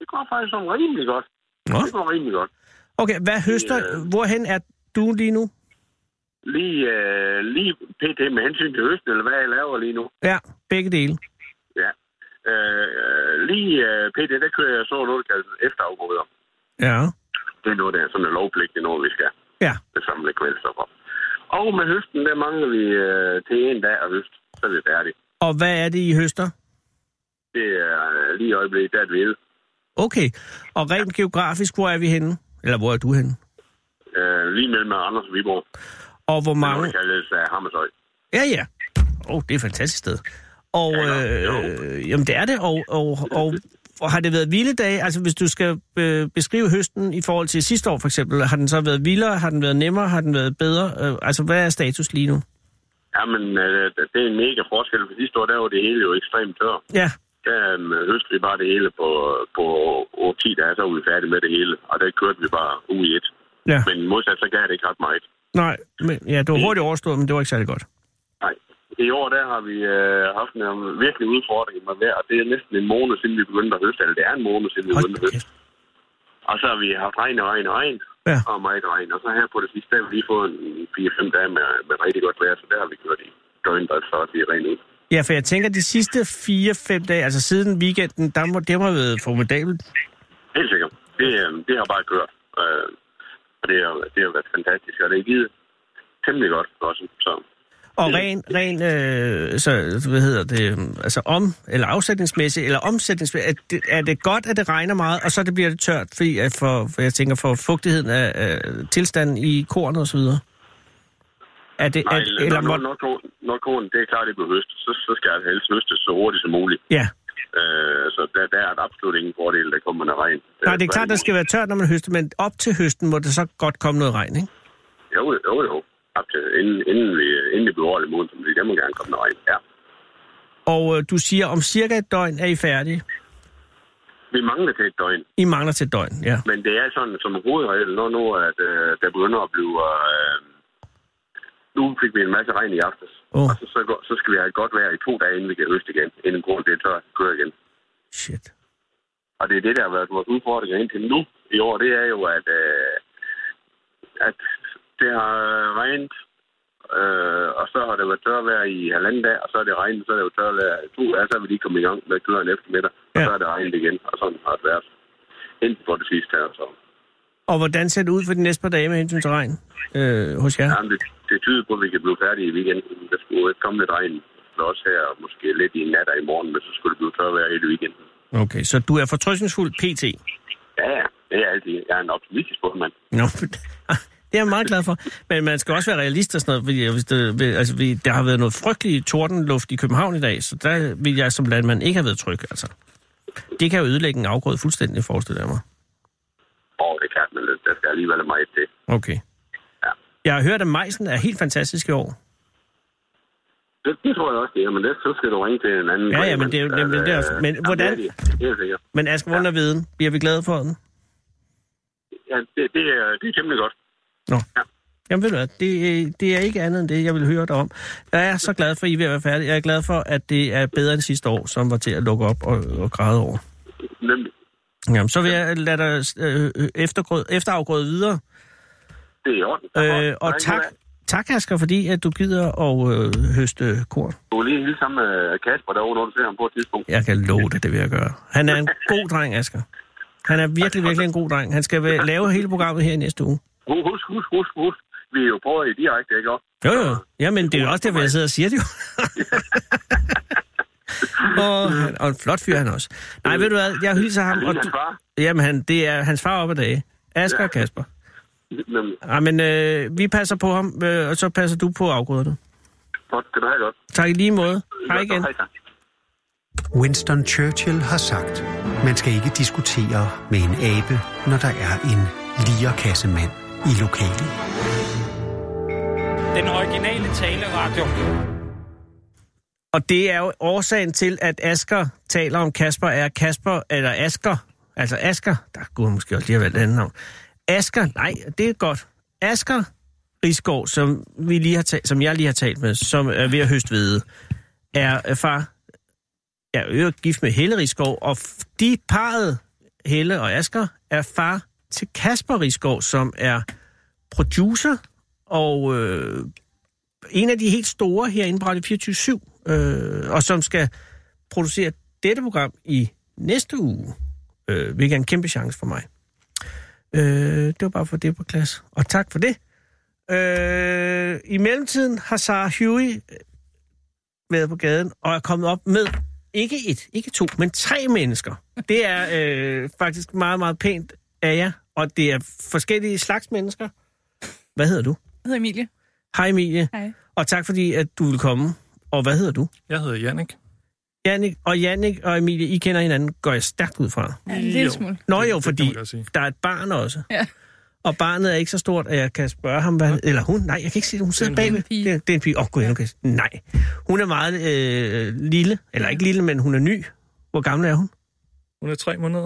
Det går faktisk som rimelig godt.
Nå.
Det går rimelig godt.
Okay, hvad høster?
øh,
Hvorhen er du lige nu?
Lige, øh, lige pt. med hensyn til høsten, eller hvad jeg laver lige nu.
Ja, begge dele.
Ja. Øh, øh, lige øh, pt. der kører jeg så noget, der kaldes efterafgrøder.
Ja.
Det er noget, der er sådan en lovpligtig noget, vi skal
Ja.
samle kvælstof op. Og med høsten, der mangler vi øh, til en dag af høst, så er vi færdige.
Og hvad er det, I høster?
Det er øh, lige i øjeblikket, der er vi elde.
Okay. Og rent geografisk, hvor er vi henne? Eller hvor er du henne?
øh, lige mellem Anders og Viborg.
Og hvor
Det er noget,
mange...
der kaldes øh, Hammershøj.
Ja, ja. Åh, oh, det er et fantastisk sted. Og,
Ja, jo.
øh, jamen det er det, og, og, og, og har det været vilde dage? Altså hvis du skal øh, beskrive høsten i forhold til sidste år for eksempel, har den så været vildere, har den været nemmere, har den været bedre? Øh, altså hvad er status lige nu?
Jamen, øh, det er en mega forskel, for sidste år, der var det hele jo ekstremt tør.
Ja,
Der øhm, høstede vi bare det hele på, på 10 dage, så var vi færdige med det hele, og der kørte vi bare ud i et.
ja.
Men modsat, så gav det ikke ret meget.
Nej, men, ja, det var hurtigt overstået, men det var ikke særlig godt.
Nej. I år, der har vi øh, haft en virkelig udfordring med vejr, og det er næsten en måned, siden vi begyndte at høste, eller det er en måned, siden vi
Hold
begyndte
da
at høste.
kæft.
Og så har vi haft regn og regn og regn,
Ja.
og meget regn. Og så her på det sidste, der har vi lige fået en 4-5 dage med, med rigtig godt vejr, så der har vi kørt i døgndrift, så det er rent ud.
Ja, for jeg tænker, de sidste 4-5 dage, altså siden weekenden, der må, det må have været formidabelt.
Helt sikkert. Det, øh, det har bare kørt. Øh, Og det har, det har været fantastisk, og det har givet temmelig godt også. Så.
Og ren, ren øh, så, hvad hedder det, øh, altså om, eller afsætningsmæssigt, eller omsætningsmæssigt, er det, er det godt, at det regner meget, og så det bliver det tørt, fordi at for, for jeg tænker, for fugtigheden af, af tilstanden i kornet og så videre. Er det,
Nej,
er, eller
når,
må,
når, når, når konen, det er klart, det bliver høstet, så, så skal det helst høstes så hurtigt som muligt.
ja.
Øh, så der, der er der absolut ingen fordel, der kommer med regn. Øh,
Nej, det er klart, at det skal være tørt, når man høster, men op til høsten må det så godt komme noget regn, ikke?
Jo, jo, jo. Op til, inden, inden, vi, inden det bliver ordentligt moden, så det der må gerne komme noget regn. Ja.
Og øh, du siger, om cirka et døgn er I færdige.
Vi mangler til et døgn,
I mangler til et døgn, ja.
men det er sådan som hovedregel, når nu at, øh, der begynder at blive... Øh, nu fik vi en masse regn i aftes,
Åh.
og så, så, går- så skal vi have godt vejr i to dage, inden vi kan høste igen, inden grunden det er tør at køre igen.
Shit.
Og det er det, der har været vores udfordringer indtil nu i år, det er jo, at, øh, at det har regnet, øh, og så har det været tørvejr i halvanden dag, og så er det regnet, så er det jo tørvejr i to dage, så er vi lige kommet i gang med at køre en eftermiddag, og
Ja.
så er det regnet igen, og sådan har det været indtil på det sidste her. Så.
Og hvordan ser det ud for de næste par dage med hensyn til regn øh, hos jer?
Jamen, det, det tyder på, at vi kan blive færdige i weekenden. Der skulle jo komme lidt regn også her, og måske lidt i nat og i morgen, men så skulle det blive tørvejr hele weekenden.
Okay, så du er fortrøstningsfuld pt.
Ja, ja, det er altid. Jeg er en optimistisk bundmand.
Nå, det er jeg meget glad for. Men man skal også være realist og sådan noget, fordi hvis det, altså, vi, der har været noget frygtelig tordenluft i København i dag, så der vil jeg som landmand ikke have været tryg, altså. Det kan jo ødelægge en afgrøde fuldstændig, forestiller jeg mig.
Og det kan man lidt. Der skal alligevel meget til.
Okay. Jeg har hørt, at majsen er helt fantastisk i år.
Det, det tror jeg også, det er, men det, så skal du ringe til en anden.
Ja, ja, men det er jo-
Altså,
men det er- men
jamen,
hvordan-
Det er, det. det er sikkert.
Men Asger, hvordan er viden? Bliver vi glade for den?
Ja, det, det, er, det er temmelig godt.
Jamen ved du hvad, det, øh, det er ikke andet end det, jeg vil høre dig om. Jeg er så glad for, at I er ved at være færdige. Jeg er glad for, at det er bedre end sidste år, som var til at lukke op og, og græde over.
Nemlig.
Jamen, så vil jeg lade dig øh, øh, eftergrød, efterafgrøde videre.
Det er i orden.
Øh, og
Ring
tak,
til dig.
tak Asger, fordi at du gider at øh, høste korn.
Du er lige en lille sammen med Kasper derovre, når du ser ham på et tidspunkt.
Jeg kan love dig, det vil jeg gøre. Han er en god dreng, Asger. Han er virkelig, virkelig en god dreng. Han skal være- lave hele programmet her i næste uge.
Husk, husk, husk, husk, husk. Vi er jo på i direkte, ikke også?
Jo, jo. Ja, men det er jo også derfor, jeg sidder og siger det jo. og, han, og en flot fyr han også. Nej, ved du hvad, jeg hilser ham. Og
Lige
du,
hans far.
jamen, han, det er hans far op ad dage. Asger og Kasper.
Nemlig.
Ja, men øh, vi passer på ham, øh, og så passer du på afgrøderne.
Godt, kan du have det godt.
Tak i lige måde. Hej igen.
tak.
Winston Churchill har sagt, man skal ikke diskutere med en abe, når der er en lierkassemand i lokalet.
Den originale taleradio.
Og det er jo årsagen til, at Asker taler om Kasper, er Kasper, eller Asker, altså Asker, der kunne han måske også lige have valgt et andet navn. Asker, nej, det er godt. Asker Rigsgaard, som, vi lige har talt, som jeg lige har talt med, som er ved at høste hvede, er øh, far, er jo gift med Helle Rigsgaard, og f- de parret, Helle og Asker, er far til Kasper Rigsgaard, som er producer og øh, en af de helt store herinde på Radio 24-7, øh, og som skal producere dette program i næste uge, øh, hvilket er en kæmpe chance for mig. Øh, det var bare for det på klasse, og tak for det. Øh, I mellemtiden har Sarah Huey øh, været på gaden og er kommet op med ikke et, ikke to, men tre mennesker. Det er øh, faktisk meget, meget pænt af jer, og det er forskellige slags mennesker. Hvad hedder du?
Jeg hedder Emilie.
Hej Emilie.
Hej.
Og tak fordi, at du vil komme. Og hvad hedder du?
Jeg hedder Jannik.
Jannik, og Jannik og Emilie, I kender hinanden, går jeg stærkt ud fra.
Ja, en lille
Jo.
smule.
Nå jo,
det
fordi
kan man godt sige.
der er et barn også.
Ja.
Og barnet er ikke så stort, at jeg kan spørge ham, hvad, eller hun, nej, jeg kan ikke se det, hun sidder
en
bagved.
pige.
Det, er- det er en pige. Åh, oh, gud, okay. nej. Hun er meget øh, lille, eller ikke lille, men hun er ny. Hvor gammel er hun?
Hun er tre måneder.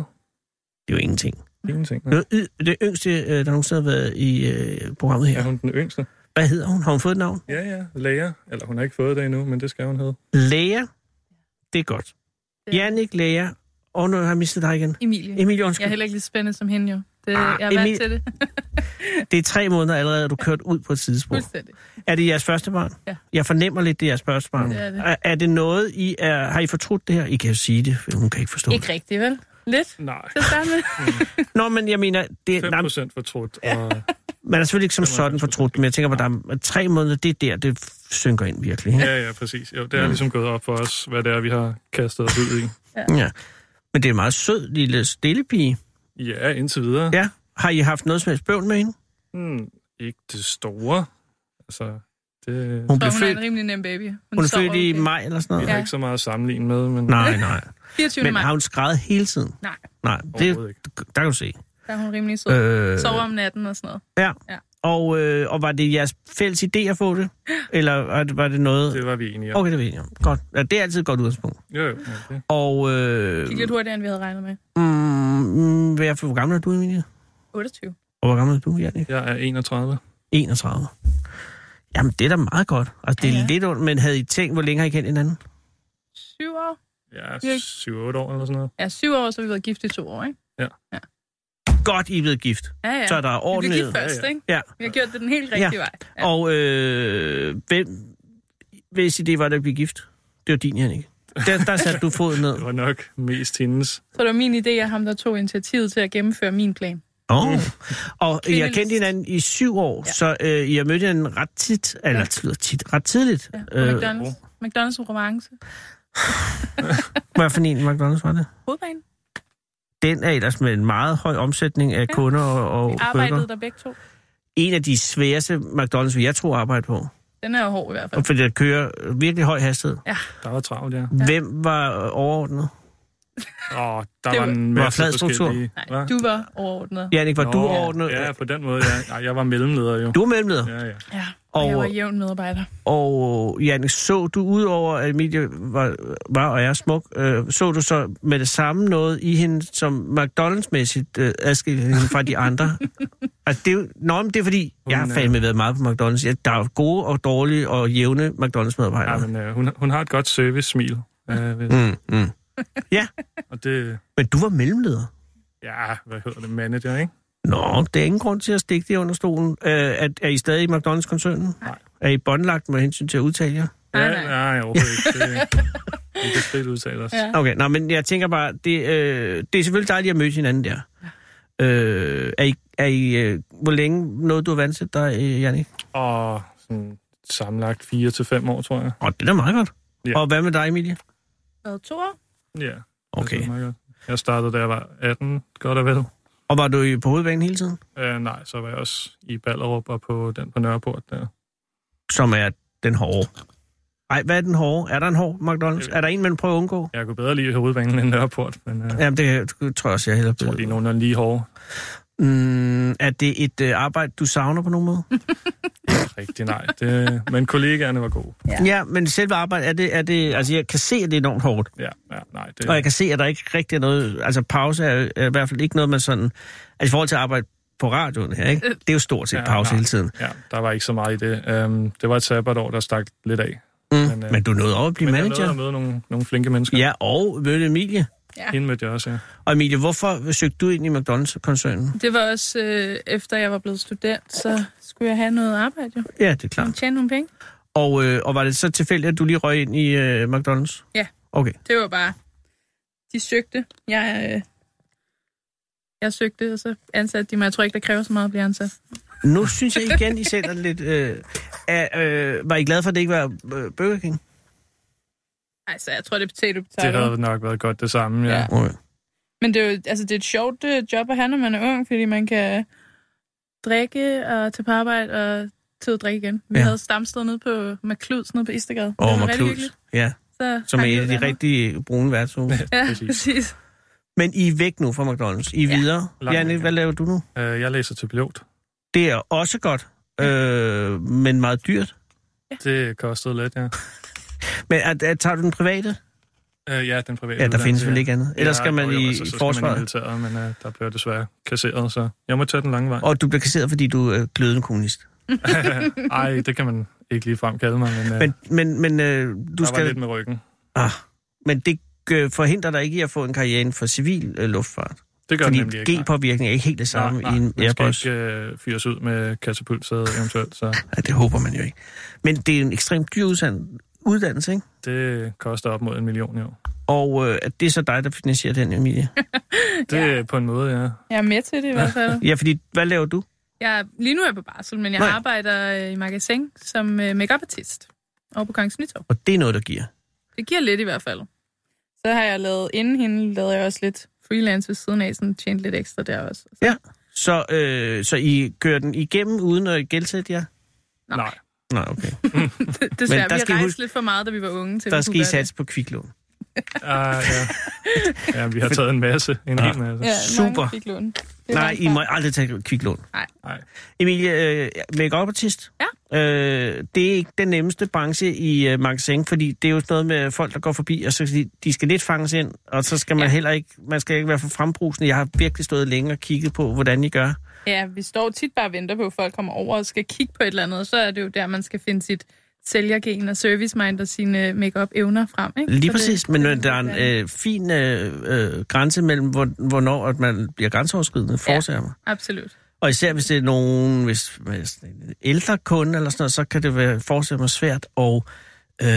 Det er jo ingenting.
Ingenting.
Det, er y- det yngste, øh, der nogensinde har været i øh, programmet
Er
her.
hun den yngste?
Hvad hedder hun? Har hun fået et navn?
Ja, ja. Læger. Eller hun har ikke fået det endnu, men det skal hun hedde.
Lea. Det er godt.
Det er-
Jannik, Lea. Og nu har jeg mistet dig igen.
Emilie.
Emilie,
Jeg er
undskyld.
heller ikke lige så spændende som hende jo. Det,
Ah,
jeg er vant
Emilie-
til det.
Det er tre måneder allerede, at du er kørt ud på et sidespor.
Fuldstændig.
Er det jeres første barn?
Ja.
Jeg fornemmer lidt, det er jeres første barn.
Det er det.
Er, er det noget, I er... Har I fortrudt det her? I kan jo sige det, for hun kan ikke forstå
Ikke rigtigt, vel? Lidt.
Nej.
Til at starte med.
Nå, men jeg mener, det, nej,
5 procent fortrudt. Og,
man er selvfølgelig ikke som sådan fortrudt, men jeg tænker på, der er tre måneder, det er der, det f- synker ind virkelig. Ikke?
ja, ja, præcis. Jo, det er ligesom gået op for os, hvad det er, vi har kastet os ud i.
Ja. Men det er en meget sød lille stille pige.
Ja, indtil videre.
Ja. Har I haft noget som helst bøvl med hende?
Hmm, ikke det store. Altså, det
Hun blev
Så hun er
født,
en rimelig nem baby.
hun er
sover
født i
okay.
maj eller sådan noget.
er
Ja.
ikke så meget at sammenligne med, men
Nej, nej.
24.
Men
maj.
har hun skrevet hele tiden?
Nej,
Nej, det,
overhovedet ikke.
der kan du se.
der er hun rimelig sød.
Øh,
Sover om natten og sådan noget.
ja.
Ja.
Og, øh, og var det jeres fælles idé at få det? Eller var det- var det noget...
Det var vi enige om.
Okay, det ved jeg. Godt. Ja, det er altid et godt udgangspunkt.
Jo, jo. ja, det-
Og... Øh,
Det gik lidt hurtigere, end vi havde regnet med.
mm, hvad er for, hvor gammel er du, Emilie?
28.
Og hvor gammel er du, Jannik?
Jeg er 31.
31. Jamen, det er da meget godt. Altså, det er
Ja,
ja.
ja.
lidt ondt, men havde I tænkt, hvor længe har I kendt hinanden?
7 år?
Jeg
Vi er
er
ikke-
7-8 år eller sådan noget.
Ja, 7 år, så har vi været gift i to år, ikke?
Godt, I er blevet gift.
Ja, ja.
Ja. Så er der
vi blev
ordentlighed.
gift først,
Ja, ja.
ikke?
Ja.
Vi har gjort det den helt rigtige vej. Ja.
Og øh, hvem, hvis idé var det at blive gift? Det var din, Jannik. Der, der satte du foden ned.
Det var nok mest hendes.
Så det var min idé af ham, der tog initiativet til at gennemføre min plan.
Oh. Og I har
Kvindelist.
kendt hinanden i syv år, ja. så øh, I har mødt hinanden ret tit, eller ja. tit, ret tidligt.
Ja.
Øh,
Øh, McDonald's. McDonald's Romance.
hvad for en McDonald's var det?
Hovedbanen.
Den er ellers med en meget høj omsætning af ja. kunder og, og
Arbejdede
burger.
der begge to.
En af de sværeste McDonald's, vil jeg tro at arbejde på.
Den er jo hård i hvert fald.
Og fordi der kører virkelig høj hastighed.
Der var travlt, ja.
Ja. Hvem var øh, overordnet?
Åh, der
Det
var
var-
en
var
masse
flad struktur.
forskellige...
Nej,
Hva?
du var overordnet.
Janik, var
Nå,
Nå, du overordnet?
Ja, på den måde, ja. Nej, jeg var mellemleder jo.
Du er mellemleder. Ja.
Ja, ja.
Ja, og jeg var
Og,
jævn medarbejder.
og Janik, så du udover, at Emilie var, var og er smuk, øh, så du så med det samme noget i hende, som McDonald's-mæssigt øh, adskilte hende fra de andre? altså, det, er jo- nå, men det er fordi, jeg har
er-
fandme været meget på McDonald's. Ja, der er jo gode og dårlige og jævne
ja
McDonald's-medarbejdere.
men, øh, hun, hun har et godt service-smil. Øh, ved-
Mm, mm.
og det...
Men du var mellemleder.
Ja, hvad hedder det? Manager, ikke?
Nå, det er ingen grund til at stikke det under stolen. Øh, er, er I stadig i McDonald's-koncernen?
Nej.
Er I båndlagt med hensyn til at udtale jer?
Nej,
ja,
nej.
nej. overhovedet ikke. Det, vi kan frit udtale os.
Ja.
Okay, nå, men jeg tænker bare, det, øh, det er selvfølgelig dejligt at møde hinanden der. Øh, er I, er I, øh, hvor længe nåede du at vandsætte dig, øh, Jannik?
Og sådan, sammenlagt 4 til fem år, tror jeg.
Åh, oh, det er da meget godt.
Ja.
Og hvad med dig, Emilie?
Været to år?
Ja.
Okay.
Det er meget godt. Jeg startede, da jeg var 18, godt og vel.
Og var du i- på hovedbanen hele tiden?
Uh, nej, så var jeg også i Ballerup og på den på Nørreport der.
Som er den hårde. Nej, hvad er den hårde? Er der en hård McDonald's?
Øh.
Er der en, man prøver at undgå?
Jeg kunne bedre lide hovedbanen end Nørreport, men uh, jeg
Jamen, det tror jeg også, jeg hellere
tror, de er
bliver.
nogen, der er lige hårde.
Mm, er det et øh, arbejde, du savner på nogen måde?
Rigtig nej. Det, men kollegaerne var gode.
Ja, ja men selve arbejdet, er det, er det, altså jeg kan se, at det er enormt hårdt.
Ja, ja nej.
Og jeg
Det,
kan se, at der ikke rigtig er noget... Altså, pause er, er i hvert fald ikke noget, man sådan... Altså, i forhold til at arbejde på radioen her, ikke? Det er jo stort set
Ja,
pause
nej.
hele tiden.
ja, der var ikke så meget i det. Um, det var et sabbatår, der stak lidt af.
Mm.
øh,
Men du nåede over at blive
men jeg nåede at
manager.
møde nogle, nogle flinke mennesker.
Ja, og mødte Emilie.
Hende mødte jeg også, ja.
Og Emilie, hvorfor søgte du ind i McDonald's-koncernen?
Det var også øh, efter jeg var blevet student, så skulle jeg have noget arbejde jo.
Ja, det er
Jeg
klart.
tjene nogle penge.
Og, øh, og var det så tilfældigt, at du lige røg ind i øh, McDonald's?
Ja.
Okay.
Det var bare, de søgte. Jeg, øh, jeg søgte, og så ansatte de mig. Jeg tror ikke, der kræver så meget at blive ansat.
Nu synes jeg igen, I sælger det lidt... Øh, er, øh, var I glade for, at det ikke var øh, Burger King?
Altså, jeg tror, det er potato
Det
potato.
havde nok været godt det samme, ja.
Ja.
Okay.
Men det er jo altså, det er et sjovt øh, job at have, når man er ung, fordi man kan drikke og tage på arbejde og til at drikke igen. Vi
Ja.
ja. havde stamsted nede på McCluds nede på Istergade. Det
Og
var rigtig
McClus.
hyggeligt.
Ja,
Så
som er
hang vi
et af
ud
de
dernede.
rigtige brune værtshuse.
Ja,
Præcis.
præcis.
Men I er væk nu fra McDonald's. I er ja.
Ja.
videre.
Langt
Janne,
væk, ja.
hvad laver du nu?
Uh, jeg læser til pilot.
Det er også godt, øh, men meget dyrt.
Det kostede lidt, ja.
Men er, er, tager du den private?
Uh, ja, den private
Ja, der
uddannelse,
findes vel ikke andet. Ellers skal man
jo, jo,
i,
altså,
i
så skal man i
forsvaret.
militæret, men uh, der blev jeg desværre kasseret, så jeg må tage den lange vej.
Og du bliver kasseret, fordi du er glødende kommunist.
Nej, det kan man ikke lige frem kalde mig, men, uh,
Men, men, men øh, du
der var lidt
skal...
med ryggen.
Ah, men det øh, forhindrer dig ikke i at få en karriere inden for civil øh, luftfart.
Det gør
Fordi
den nemlig ikke. nej.
G-påvirkning er ikke helt det samme
nej, nej,
i en
man
Airbus.
skal ikke uh, fyres ud med katapultsæde eventuelt, så
Ja, det håber man jo ikke. Men det er en ekstremt dyr udsand- uddannelse, ikke?
det koster op mod en million i år.
Og øh, at det er så dig, der finansierer den, Emilie.
Det er på en måde, ja.
Jeg er med til det i hvert fald.
Ja, fordi hvad laver du?
Jeg, er- lige nu er jeg på barsel, men jeg
Nej.
Nej. arbejder øh, i magasin som øh, make artist over på Kongens Nytorv.
Og det er noget, der giver.
Det giver lidt i hvert fald. Så har jeg lavet, inden hende lavede jeg også lidt freelance ved siden af, sådan tjent lidt ekstra der også. Så,
Ja. Så, øh, så I kører den igennem uden at gældsætte jer?
Nej.
Nej.
Nej, okay.
desværre,
der
vi har
skal I
rejst
huske-
lidt for meget, da vi var unge til, at
Der
vi
skal
kunne
I
gøre
satse på kviklån.
Ah, ja. ja, vi har taget en masse. En hel masse.
det. Ja,
Super.
Mange fik lån. Det var
Nej,
en
I må
fejl.
aldrig tage kviklån.
Nej.
Nej.
Emilie, øh, make-up-artist. Ja. Øh, det er ikke den nemmeste branche i øh, magasin, fordi det er jo sådan noget med folk, der går forbi, og så skal de, de skal lidt fanges ind, og så skal man ja.
Ja.
heller ikke, man skal ikke være for frembrusende. Jeg har virkelig stået længe og kigget på, hvordan I gør.
Ja, vi står tit bare og venter på, at folk kommer over og skal kigge på et eller andet, og så er det jo der, man skal finde sit sælgergen og service mind og sine makeup evner frem. Ikke?
Lige
Så
præcis, men
det-
men der er en øh, fin øh, øh, grænse mellem, hvor, hvornår at man bliver grænseoverskridende, foretager mig.
Absolut.
Og især hvis det er nogen, hvis, hvis det er en ældre kunde eller sådan noget, så kan det være fortsat mig svært og øh,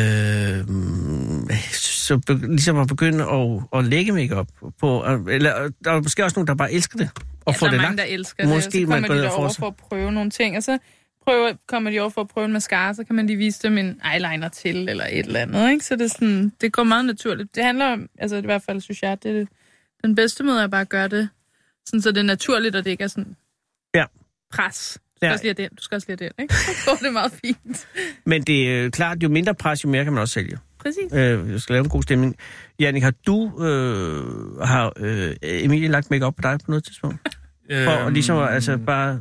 så be, ligesom at begynde at, at lægge makeup på, eller der er måske også nogen, der bare elsker det, og
Ja,
ja, får
Altså, der
det
er mange,
lagt.
der elsker det,
Måske
og så
man
kommer
går
de
ned og
derover
foretager.
for at prøve nogle ting, og så prøver, kommer de over for at prøve en mascara, så kan man lige vise dem en eyeliner til, eller et eller andet. Ikke? Så det, er sådan, det går meget naturligt. Det handler om, altså i hvert fald synes jeg, det er det- den bedste måde at bare gøre det, sådan, så det er naturligt, og det ikke er sådan
Ja.
pres. Du skal
Ja.
også lige have den, du skal også lige have den, ikke? Så går det meget fint.
Men det er klart, jo mindre pres, jo mere kan man også sælge.
Præcis.
Øh, jeg skal lave en god stemning. Jannik, har du, øh, har øh, Emilie lagt makeup på dig på noget tidspunkt? For øhm, ligesom at, altså bare,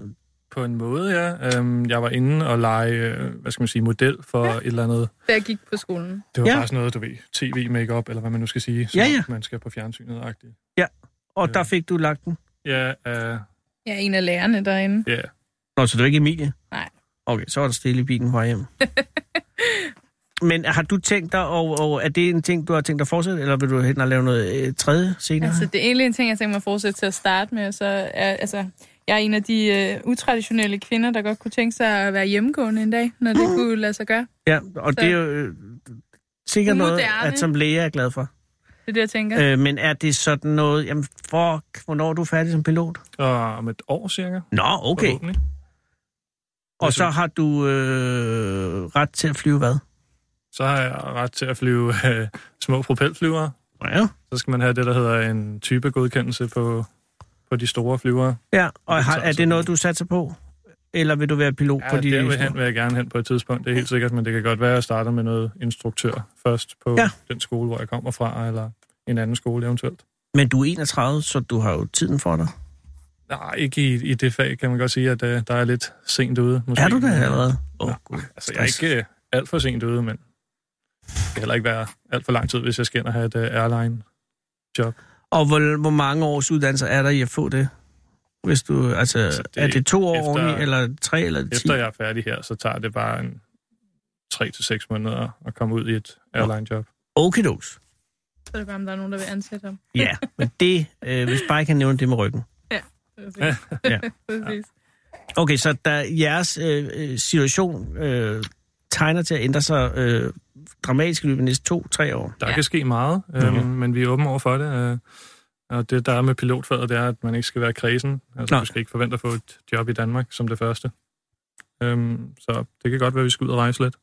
På en måde, ja. Øhm, jeg var inde og lege, øh, hvad skal man sige, model for et eller andet.
Da jeg gik på skolen.
Det var
Ja.
ja. bare sådan noget, du ved, tv makeup eller hvad man nu skal sige. som
Ja, ja.
Man skal på fjernsynet -agtigt.
og der
Øh.
fik du lagt den.
Ja, øh,
Jeg er en af lærerne derinde.
ja.
Nå, så det var ikke Emilie?
Nej.
Okay, så var der stille i bilen på hjem. Men har du tænkt dig, og, og er det en ting, du har tænkt dig at fortsætte, eller vil du hen og lave noget øh, tredje senere?
Altså, det er egentlig en ting, jeg tænker mig at fortsætte til at starte med. og Så er, altså, jeg er en af de øh, utraditionelle kvinder, der godt kunne tænke sig at være hjemmegående en dag, når det
Ah.
kunne lade sig gøre.
ja, og det er jo øh, sikkert noget,
Moderne.
at som læge er jeg glad for.
Det er det, jeg tænker.
Ja. Øh, men er det sådan noget, jamen fuck, hvornår er du færdig som pilot?
Og om et år cirka.
Nå, okay.
forhåbentlig.
Og så har du øh, ret til at flyve hvad?
Så har jeg ret til at flyve øh, små propelflyvere.
Ja.
Så skal man have det, der hedder en typegodkendelse på, på de store flyvere.
ja og
Det
har,
tager
er
sådan-
det noget, du satser på? Eller vil du være pilot
Ja,
på de...
derved hen vil jeg gerne hen på et tidspunkt, det er helt sikkert, men det kan godt være, at jeg starter med noget instruktør først på
Ja.
ja. den skole, hvor jeg kommer fra, eller en anden skole eventuelt.
Men du er 31, så du har jo tiden for dig.
Nej, ikke i, i det fag, kan man godt sige, at uh, der er lidt sent ude. Måske.
Er du der allerede? Åh,
Nå,
gud.
Altså, jeg er ikke uh, alt for sent ude, men det kan heller ikke være alt for lang tid, hvis jeg skal ind og have et uh, airline-job.
Og hvor, hvor mange års uddannelse er der i at få det? Hvis du, altså,
Altså,
det
det
er det to år efter,
efter-
oveni, eller tre, eller ti?
Efter jeg er færdig her, så tager det bare en 3-6 måneder at komme ud i et airline-job.
Okidoks.
Så er det bare, om der er nogen, der vil ansætte ham.
Ja, men det, øh, hvis bare jeg kan nævne det med ryggen.
Præcis.
Ja.
Præcis.
Okay, så der, jeres øh, øh, situation øh, tegner til at ændre sig øh, dramatisk i løbet af de næste to-tre år.
Der
Ja.
ja. kan ske meget, øh,
Mhm.
men vi er åbne over for det. Øh, og det, der er med pilotfaget, det er, at man ikke skal være kredsen. Altså,
Nej.
du skal ikke forvente at få et job i Danmark som det første. Øhm, så det kan godt være, at vi skal ud og rejse lidt.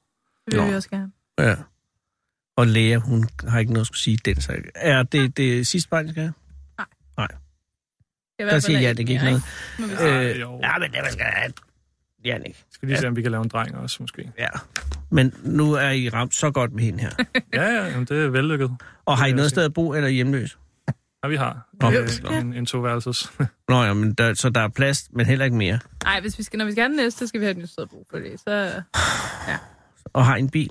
Det vil
Nå.
vi også gerne.
Ja. Og Lea, hun har ikke noget at skulle sige i den sag. Er det det sidste barn, jeg skal have?
Det er i
Der
hvert fald
siger ja,
alt
det gik
mere,
noget.
Må vi se.
Ej,
Øh,
jo.
ja, men det man skal have. Jannik.
Vi skal lige se, om vi kan lave en dreng også, måske.
Ja. Men nu er I ramt så godt med hende her.
Ja, ja, jamen, det er vellykket.
Og har I
Det vil jeg
noget
sige.
sted at bo, eller er I hjemløs?
Ja, vi har
Nå,
øh, en, en toværelses.
Nå ja, men der, så der er plads, men heller ikke mere.
Ej, hvis vi skal, når vi skal have den næste, så skal vi have et nyt sted at bo på det. Så
Og har I en bil?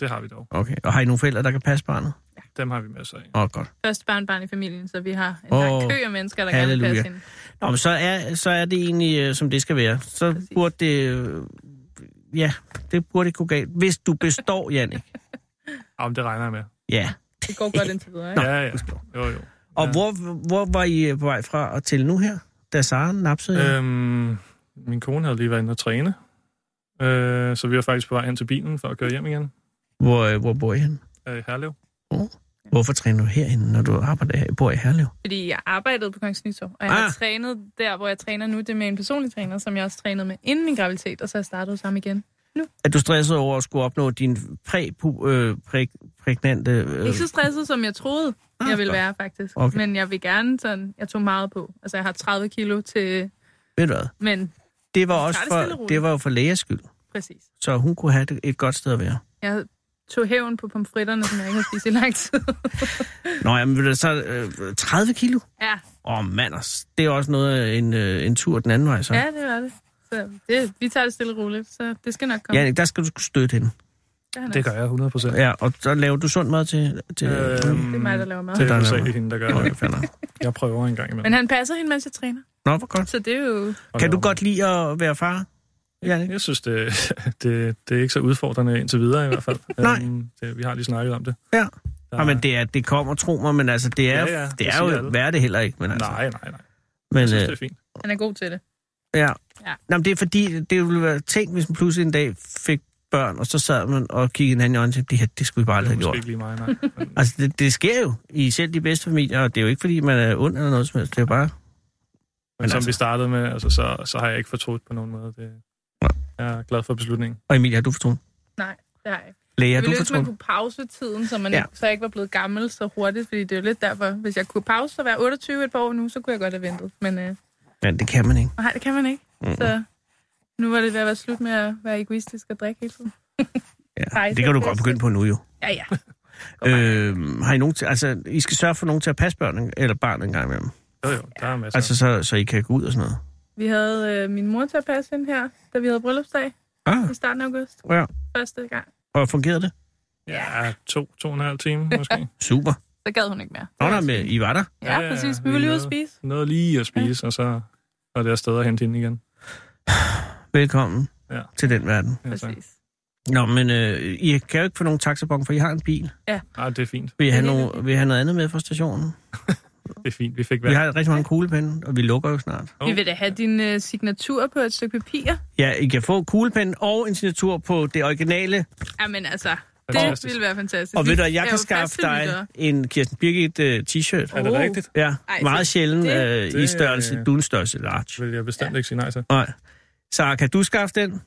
det har vi dog.
Okay. Og har I nogle forældre, der kan passe barnet?
Dem har vi masser af.
Åh, oh, godt.
første barn, barn i familien, så vi har en
Åh,
lang kø af mennesker, der gerne vil
halleluja.
passe hende.
Nå, men så er, så er det egentlig, øh, som det skal være. Så Præcis.
Præcis.
burde det... øh, Ja, det burde ikke gå galt. Hvis du består, Jannik.
Ja, men det regner jeg med.
Ja.
Det går godt indtil videre, ikke?
Ja, ja. Jo, jo.
Og ja.
Ja.
Hvor, hvor var I øh, på vej fra og til nu her? Da Sara napsede jer?
Øhm, min kone havde lige været inde og træne. Øh, så vi var faktisk på vej hen til bilen for at køre hjem igen
Hvor, øh, hvor bor I henne?
øh, i Herlev.
Hvorfor træner du herinde, når du arbejder, bor i Herlev?
Fordi jeg arbejdede på Kongens Nytorv, og jeg ah.
Ah.
har trænet der, hvor jeg træner nu. Det er med en personlig træner, som jeg også trænede med inden min graviditet, og så er jeg startet sammen igen.
Er du stresset over at skulle opnå din præ, pu, øh, præ, prægnante... Øh,
Ikke så stresset, som jeg troede,
Ah,
jeg ville
godt.
være faktisk.
Okay.
Okay. Men jeg vil gerne sådan, jeg tog meget på. Altså, jeg har 30 kilo til,
ved du hvad?
men
Det var,
Tager
også
det stille og
for,
roligt.
det var jo for lægers skyld,
præcis.
så hun kunne have det- et godt sted at være.
Jeg tog hævn på pomfritterne, som jeg ikke har spist i lang tid.
Nå, jamen, ved du, så øh, 30 kilo?
ja,
Åh, oh, mand, os. det er også noget af en, øh, en tur den anden vej, så.
ja, det var det. Så det, vi tager det stille og roligt, så det skal nok komme.
Janik, der skal du støtte hende.
er nok.
Det gør jeg 100 procent.
Ja, og så laver du sund mad til... til øh,
det er mig, der laver mad.
Øh, Det er
Der laver
hovedsageligt
jeg.
hende, der gør
Nå,
det.
jeg falder.
Jeg prøver en gang
Men
imellem.
han passer hende, mens jeg træner.
Nå, hvor godt.
Så det er jo...
Og
Kan du
laver
godt lide at være far? Janik?
Jeg synes, det, det, det er ikke så udfordrende indtil videre i hvert fald.
Nej.
Øhm, det, vi har lige snakket om det.
Ja.
Der,
Ja, men det, er, det kommer, tro mig, men altså, det er, ja,
Ja, ja,
ja, det
det
er
siger
jo
alle.
værd det heller ikke. Men altså,
Nej, nej, nej.
men,
Jeg synes, det
øh,
er fint.
Han er god til det.
ja.
Ja.
Nå, men det er fordi, det ville være tænkt, hvis man pludselig en dag fik børn, og så sad man og kiggede hinanden i øjnene og tænkte, det her, det skulle vi bare
Det er
aldrig have
måske
gjort.
ikke lige mig, nej. Men,
Altså, det, det sker jo i selv de bedste familier, og det er jo ikke, fordi man er ond eller noget som helst. Det er jo bare...
men som
altså-
vi startede med, altså, så, så har jeg ikke fortrudt på nogen måde. Det, jeg er glad for beslutningen.
Og Emilie, har du fortrudt?
Nej, det har jeg ikke.
Læge, har
Jeg
du
ville ønske, man
fortrudt?
kunne pause tiden, så, man
Ja.
ja. ikke, så jeg ikke var blevet gammel så hurtigt, fordi det er jo lidt derfor. Hvis jeg kunne pause og være 28 et par år nu, så kunne jeg godt have ventet. Men øh,
Ja, det kan man ikke.
nej, det kan man ikke. Mm. Så nu var det ved at være slut med at være egoistisk og drikke hele tiden.
Ja.
Nej,
Det kan du
det er
godt
fedt.
begynde på nu jo.
Ja, ja.
Øh, har I, nogen til, altså, I skal sørge for nogen til at passe børn, eller barn en gang imellem.
Jo, jo, der er masser.
Altså, så, så I kan gå ud og sådan noget.
Vi havde øh, min mor til at passe hende her, da vi havde bryllupsdag
Ah,
i starten af august.
ja.
Første gang.
Og fungerede det?
ja, to, to og en halv time måske.
Super.
Så gad hun ikke mere.
Nå, der med, I var der.
Ja, ja præcis. Vi ville ud og spise.
Noget lige at spise, og så og det er afsted at hente hende igen.
Velkommen ja.
Ja.
til den verden.
Altså,
Præcis.
Nå, men øh, I kan jo ikke få nogen taxabon, for I har en bil.
nej, Ah, det er fint.
Vil I have,
Ja, det er
no- vil I have noget andet med fra stationen?
Det er fint. Vi fik
Vi
været.
har rigtig mange kuglepinde, og vi lukker jo snart.
Åh,
Vi vil da have din øh, signatur på et stykke papir.
Ja, I kan få kuglepinde og en signatur på det originale.
Jamen altså, det
Fantastisk.
ville være fantastisk.
Og ved
Vi
du, at jeg
er
kan
jo
skaffe
faste lyttere.
dig en Kirsten Birgit øh, t-shirt.
Er det
Oh.
rigtigt?
Ja,
Ej,
meget sjældent
det-
øh, i
det-
størrelse. Du er en størrelse
Det
large.
vil jeg bestemt ikke sige nej til.
Nej. Så kan du skaffe den?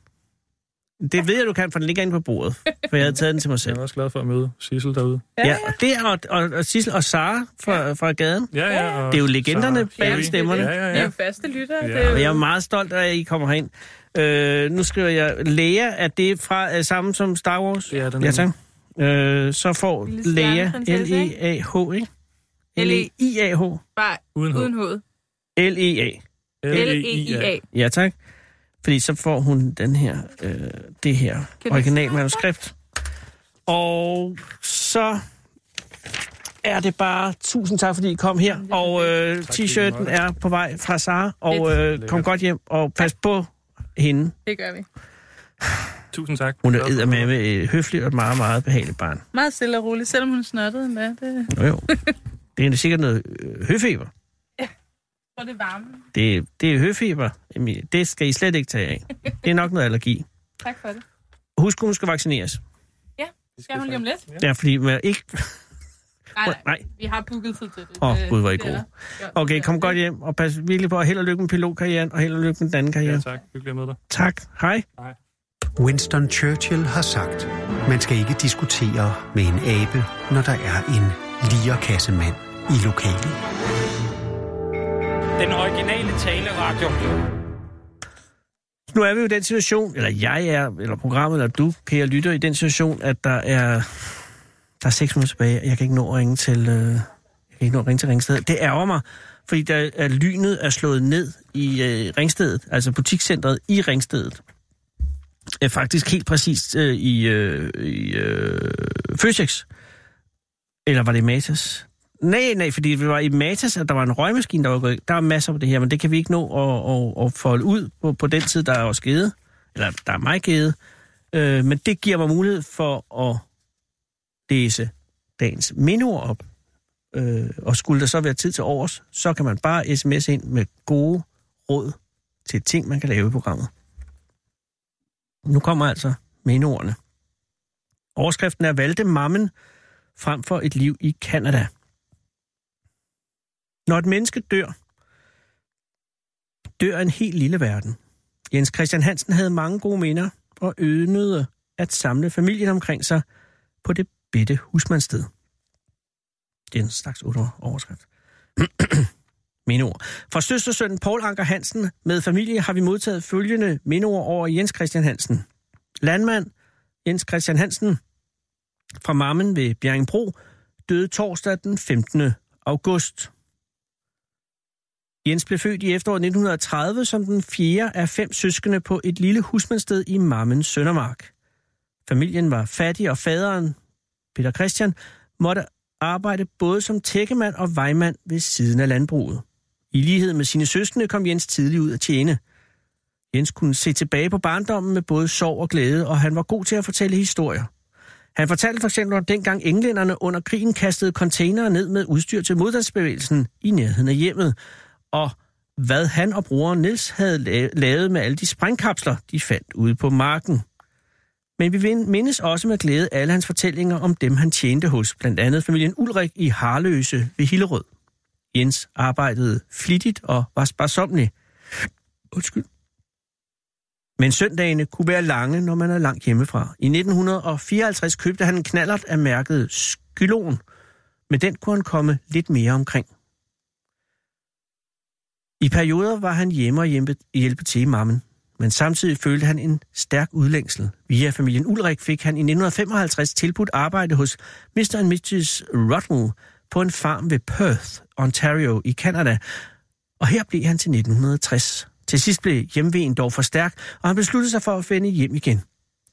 Det ved jeg, du kan, for den ligger inde på bordet. For jeg havde taget den til mig
Jeg
selv.
er også glad for at møde Sissel derude.
Ja, og det og, og, og Sissel og Sara fra, fra gaden.
Ja, ja. Og
Det er jo legenderne
Sara
bag
Fury.
stemmerne.
Ja, ja,
Det er
ja.
jo faste lyttere.
Ja.
Det er jo...
Og jeg er meget stolt af, at I kommer herind. Øh, nu skriver jeg, Lea, er det fra øh, samme som Star Wars?
Det er det
ja, tak.
nemlig.
Øh, så får
Lille
Lea,
stjerneprinsesse, ikke? E.
L-E-A-H, ikke? E L-E-I-A-H.
Bare
Uden H. E
uden E hoved.
L-E-A.
L-E-I-A.
E Ja, tak. Fordi så får hun den her, øh, det her
du-
originalmanuskript. Og så er det bare tusind tak, fordi I kom her. Og øh, t-shirten er på vej fra Sara. Og øh, kom godt hjem, og pas på hende.
Det gør vi.
Tusind tak.
Hun er eddermame øh, høflig og et meget, meget behageligt barn.
Meget stille og roligt, selvom hun snottede endda. Det
Jo, jo. Det er sikkert noget øh, høfeber.
var det varme.
Det, er- det er høfeber, Emilie. Det skal I slet ikke tage af. Det er nok noget allergi.
Tak for det.
Husk, hun skal vaccineres.
Skal hun lige om lidt?
Ja, fordi man ikke...
Nej, nej.
Nej.
Vi har booket tid til det.
Åh,
Det-
Gud, hvor er I
det er
gode.
der.
Okay, kom godt hjem, og pas virkelig på, og held og lykke med pilotkarrieren, og held og lykke med den anden
Ja,
karriere.
tak. Hyggeligt at møde dig.
Tak. Hej.
Winston Churchill har sagt, man skal ikke diskutere med en abe, når der er en lierkassemand i lokalet.
Den originale taleradio.
Nu er vi jo i den situation, eller jeg er, eller programmet, eller du, kære lytter, i den situation, at der er, der er seks minutter tilbage, og jeg kan ikke nå at ringe til, øh, jeg kan ikke nå at ringe til Ringsted. Det ærger mig, fordi der er lynet er slået ned i øh, Ringstedet, altså butikscentret i Ringstedet. Ja, faktisk helt præcist øh, i, øh, i øh, Føsex. Eller var det i Matas? Nej, nej, fordi det var i Matas, at der var en røgmaskine, der var gået. Der er masser af det her, men det kan vi ikke nå at, at, at folde ud på, på den tid, der er os givet. Eller der er mig givet. Øh, men det giver mig mulighed for at læse dagens mindeord op. Øh, og skulle der så være tid til overs, så kan man bare sms ind med gode råd til ting, man kan lave i programmet. Nu kommer altså mindeordene. Overskriften er Valde Mammen frem for et liv i Kanada. Når et menneske dør, dør en helt lille verden. Jens Christian Hansen havde mange gode minder og ønede at samle familien omkring sig på det bitte husmandsted. Det er en slags overskrift. Mindeord. Fra søstersønnen Paul Anker Hansen med familie har vi modtaget følgende mindeord over Jens Christian Hansen. Landmand Jens Christian Hansen fra Mammen ved Bjerringbro døde torsdag den 15. august. Jens blev født i efteråret 1930 som den fjerde af fem søskende på et lille husmandsted i Mammens Søndermark. Familien var fattig, og faderen, Peter Christian, måtte arbejde både som tækkemand og vejmand ved siden af landbruget. I lighed med sine søskende kom Jens tidligt ud at tjene. Jens kunne se tilbage på barndommen med både sorg og glæde, og han var god til at fortælle historier. Han fortalte for eksempel om dengang englænderne under krigen kastede containere ned med udstyr til modstandsbevægelsen i nærheden af hjemmet, og hvad han og broren Niels havde la- lavet med alle de sprængkapsler, de fandt ude på marken. Men vi vin- mindes også med glæde alle hans fortællinger om dem, han tjente hos, blandt andet familien Ulrik i Harløse ved Hillerød. Jens arbejdede flittigt og var sparsomlig. Undskyld. Men søndagene kunne være lange, når man er langt hjemmefra. I 1954 købte han en knallert af mærket Skylon. Med den kunne han komme lidt mere omkring. I perioder var han hjemme og hjælpe, hjælpe til i mammen, men samtidig følte han en stærk udlængsel. Via familien Ulrik fik han i 1955 tilbudt arbejde hos Mr. and Mrs. Ruddle på en farm ved Perth, Ontario i Canada, og her blev han til 1960. Til sidst blev hjemvejen dog for stærk, og han besluttede sig for at finde hjem igen.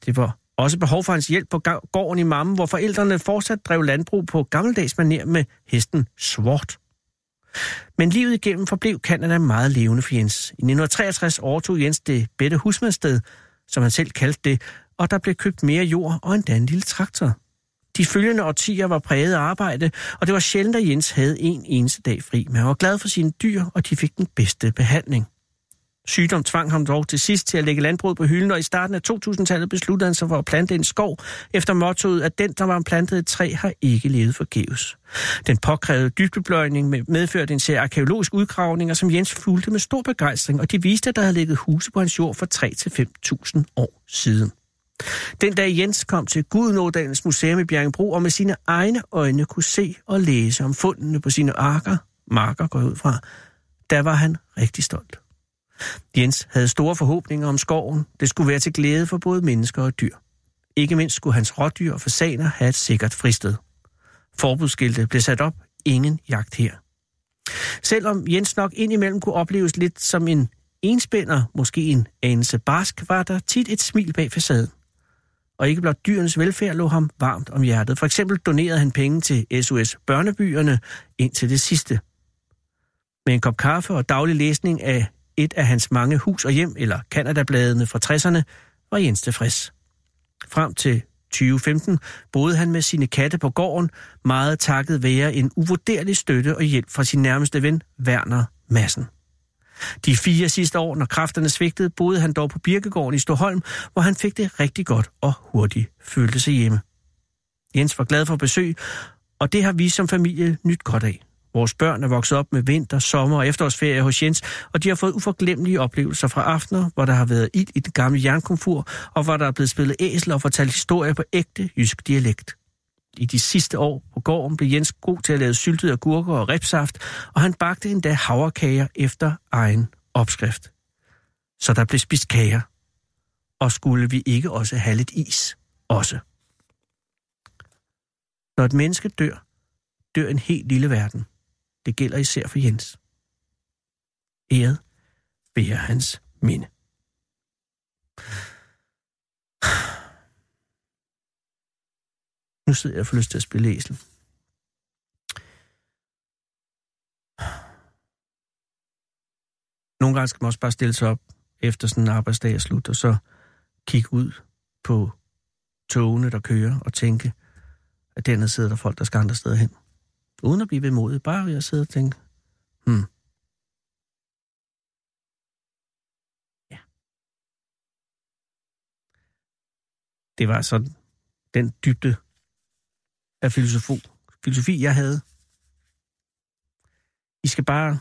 Det var også behov for hans hjælp på ga- gården i Mamme, hvor forældrene fortsat drev landbrug på gammeldags maner med hesten Svort. Men livet igennem forblev Kanada meget levende for Jens. I 1963 overtog Jens det bedte husmandsted, som han selv kaldte det, og der blev købt mere jord og endda en lille traktor. De følgende årtier var præget af arbejde, og det var sjældent, at Jens havde en eneste dag fri, men han var glad for sine dyr, og de fik den bedste behandling. Sygdom tvang ham dog til sidst til at lægge landbruget på hylden, og i starten af 2000-tallet besluttede han sig for at plante en skov, efter mottoet, at den, der var plantet et træ, har ikke levet forgæves. Den påkrævede dybdebløjning med- medførte en serie arkeologiske udgravninger, som Jens fulgte med stor begejstring, og de viste, at der havde ligget huse på hans jord for 3-5.000 år siden. Den dag Jens kom til Gudenådalens Museum i Bjergenbro og med sine egne øjne kunne se og læse om fundene på sine arker, marker går jeg ud fra, der var han rigtig stolt. Jens havde store forhåbninger om skoven. Det skulle være til glæde for både mennesker og dyr. Ikke mindst skulle hans rådyr og fasaner have et sikkert fristed. Forbudsskilte blev sat op. Ingen jagt her. Selvom Jens nok indimellem kunne opleves lidt som en enspænder, måske en anelse barsk, var der tit et smil bag facaden. Og ikke blot dyrenes velfærd lå ham varmt om hjertet. For eksempel donerede han penge til SOS Børnebyerne indtil det sidste. Med en kop kaffe og daglig læsning af et af hans mange hus og hjem, eller Kanadabladene fra 60'erne, var Jens tilfreds. Frem til 2015 boede han med sine katte på gården, meget takket være en uvurderlig støtte og hjælp fra sin nærmeste ven, Werner Massen. De fire sidste år, når kræfterne svigtede, boede han dog på Birkegården i Stoholm, hvor han fik det rigtig godt og hurtigt følte sig hjemme. Jens var glad for besøg, og det har vi som familie nyt godt af. Vores børn er vokset op med vinter, sommer og efterårsferie hos Jens, og de har fået uforglemmelige oplevelser fra aftener, hvor der har været ild i det gamle jernkomfur, og hvor der er blevet spillet æsel og fortalt historier på ægte jysk dialekt. I de sidste år på gården blev Jens god til at lave syltede agurker og ribsaft, og han bagte endda havrekager efter egen opskrift. Så der blev spist kager. Og skulle vi ikke også have lidt is? Også. Når et menneske dør, dør en helt lille verden. Det gælder især for Jens. Æret bærer hans minde. Nu sidder jeg og får lyst til at spille æsel. Nogle gange skal man også bare stille sig op efter sådan en arbejdsdag er slut, og så kigge ud på togene, der kører, og tænke, at dernede sidder der folk, der skal andre steder hen uden at blive vemodig, bare ved at sidde og tænke, hmm. Ja. Det var sådan den dybde, af filosofi, filosofi jeg havde. I skal bare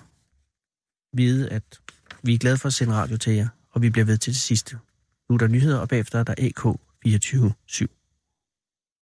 vide, at vi er glade for at sende radio til jer, og vi bliver ved til det sidste. Nu er der nyheder, og bagefter er der AK 24 7.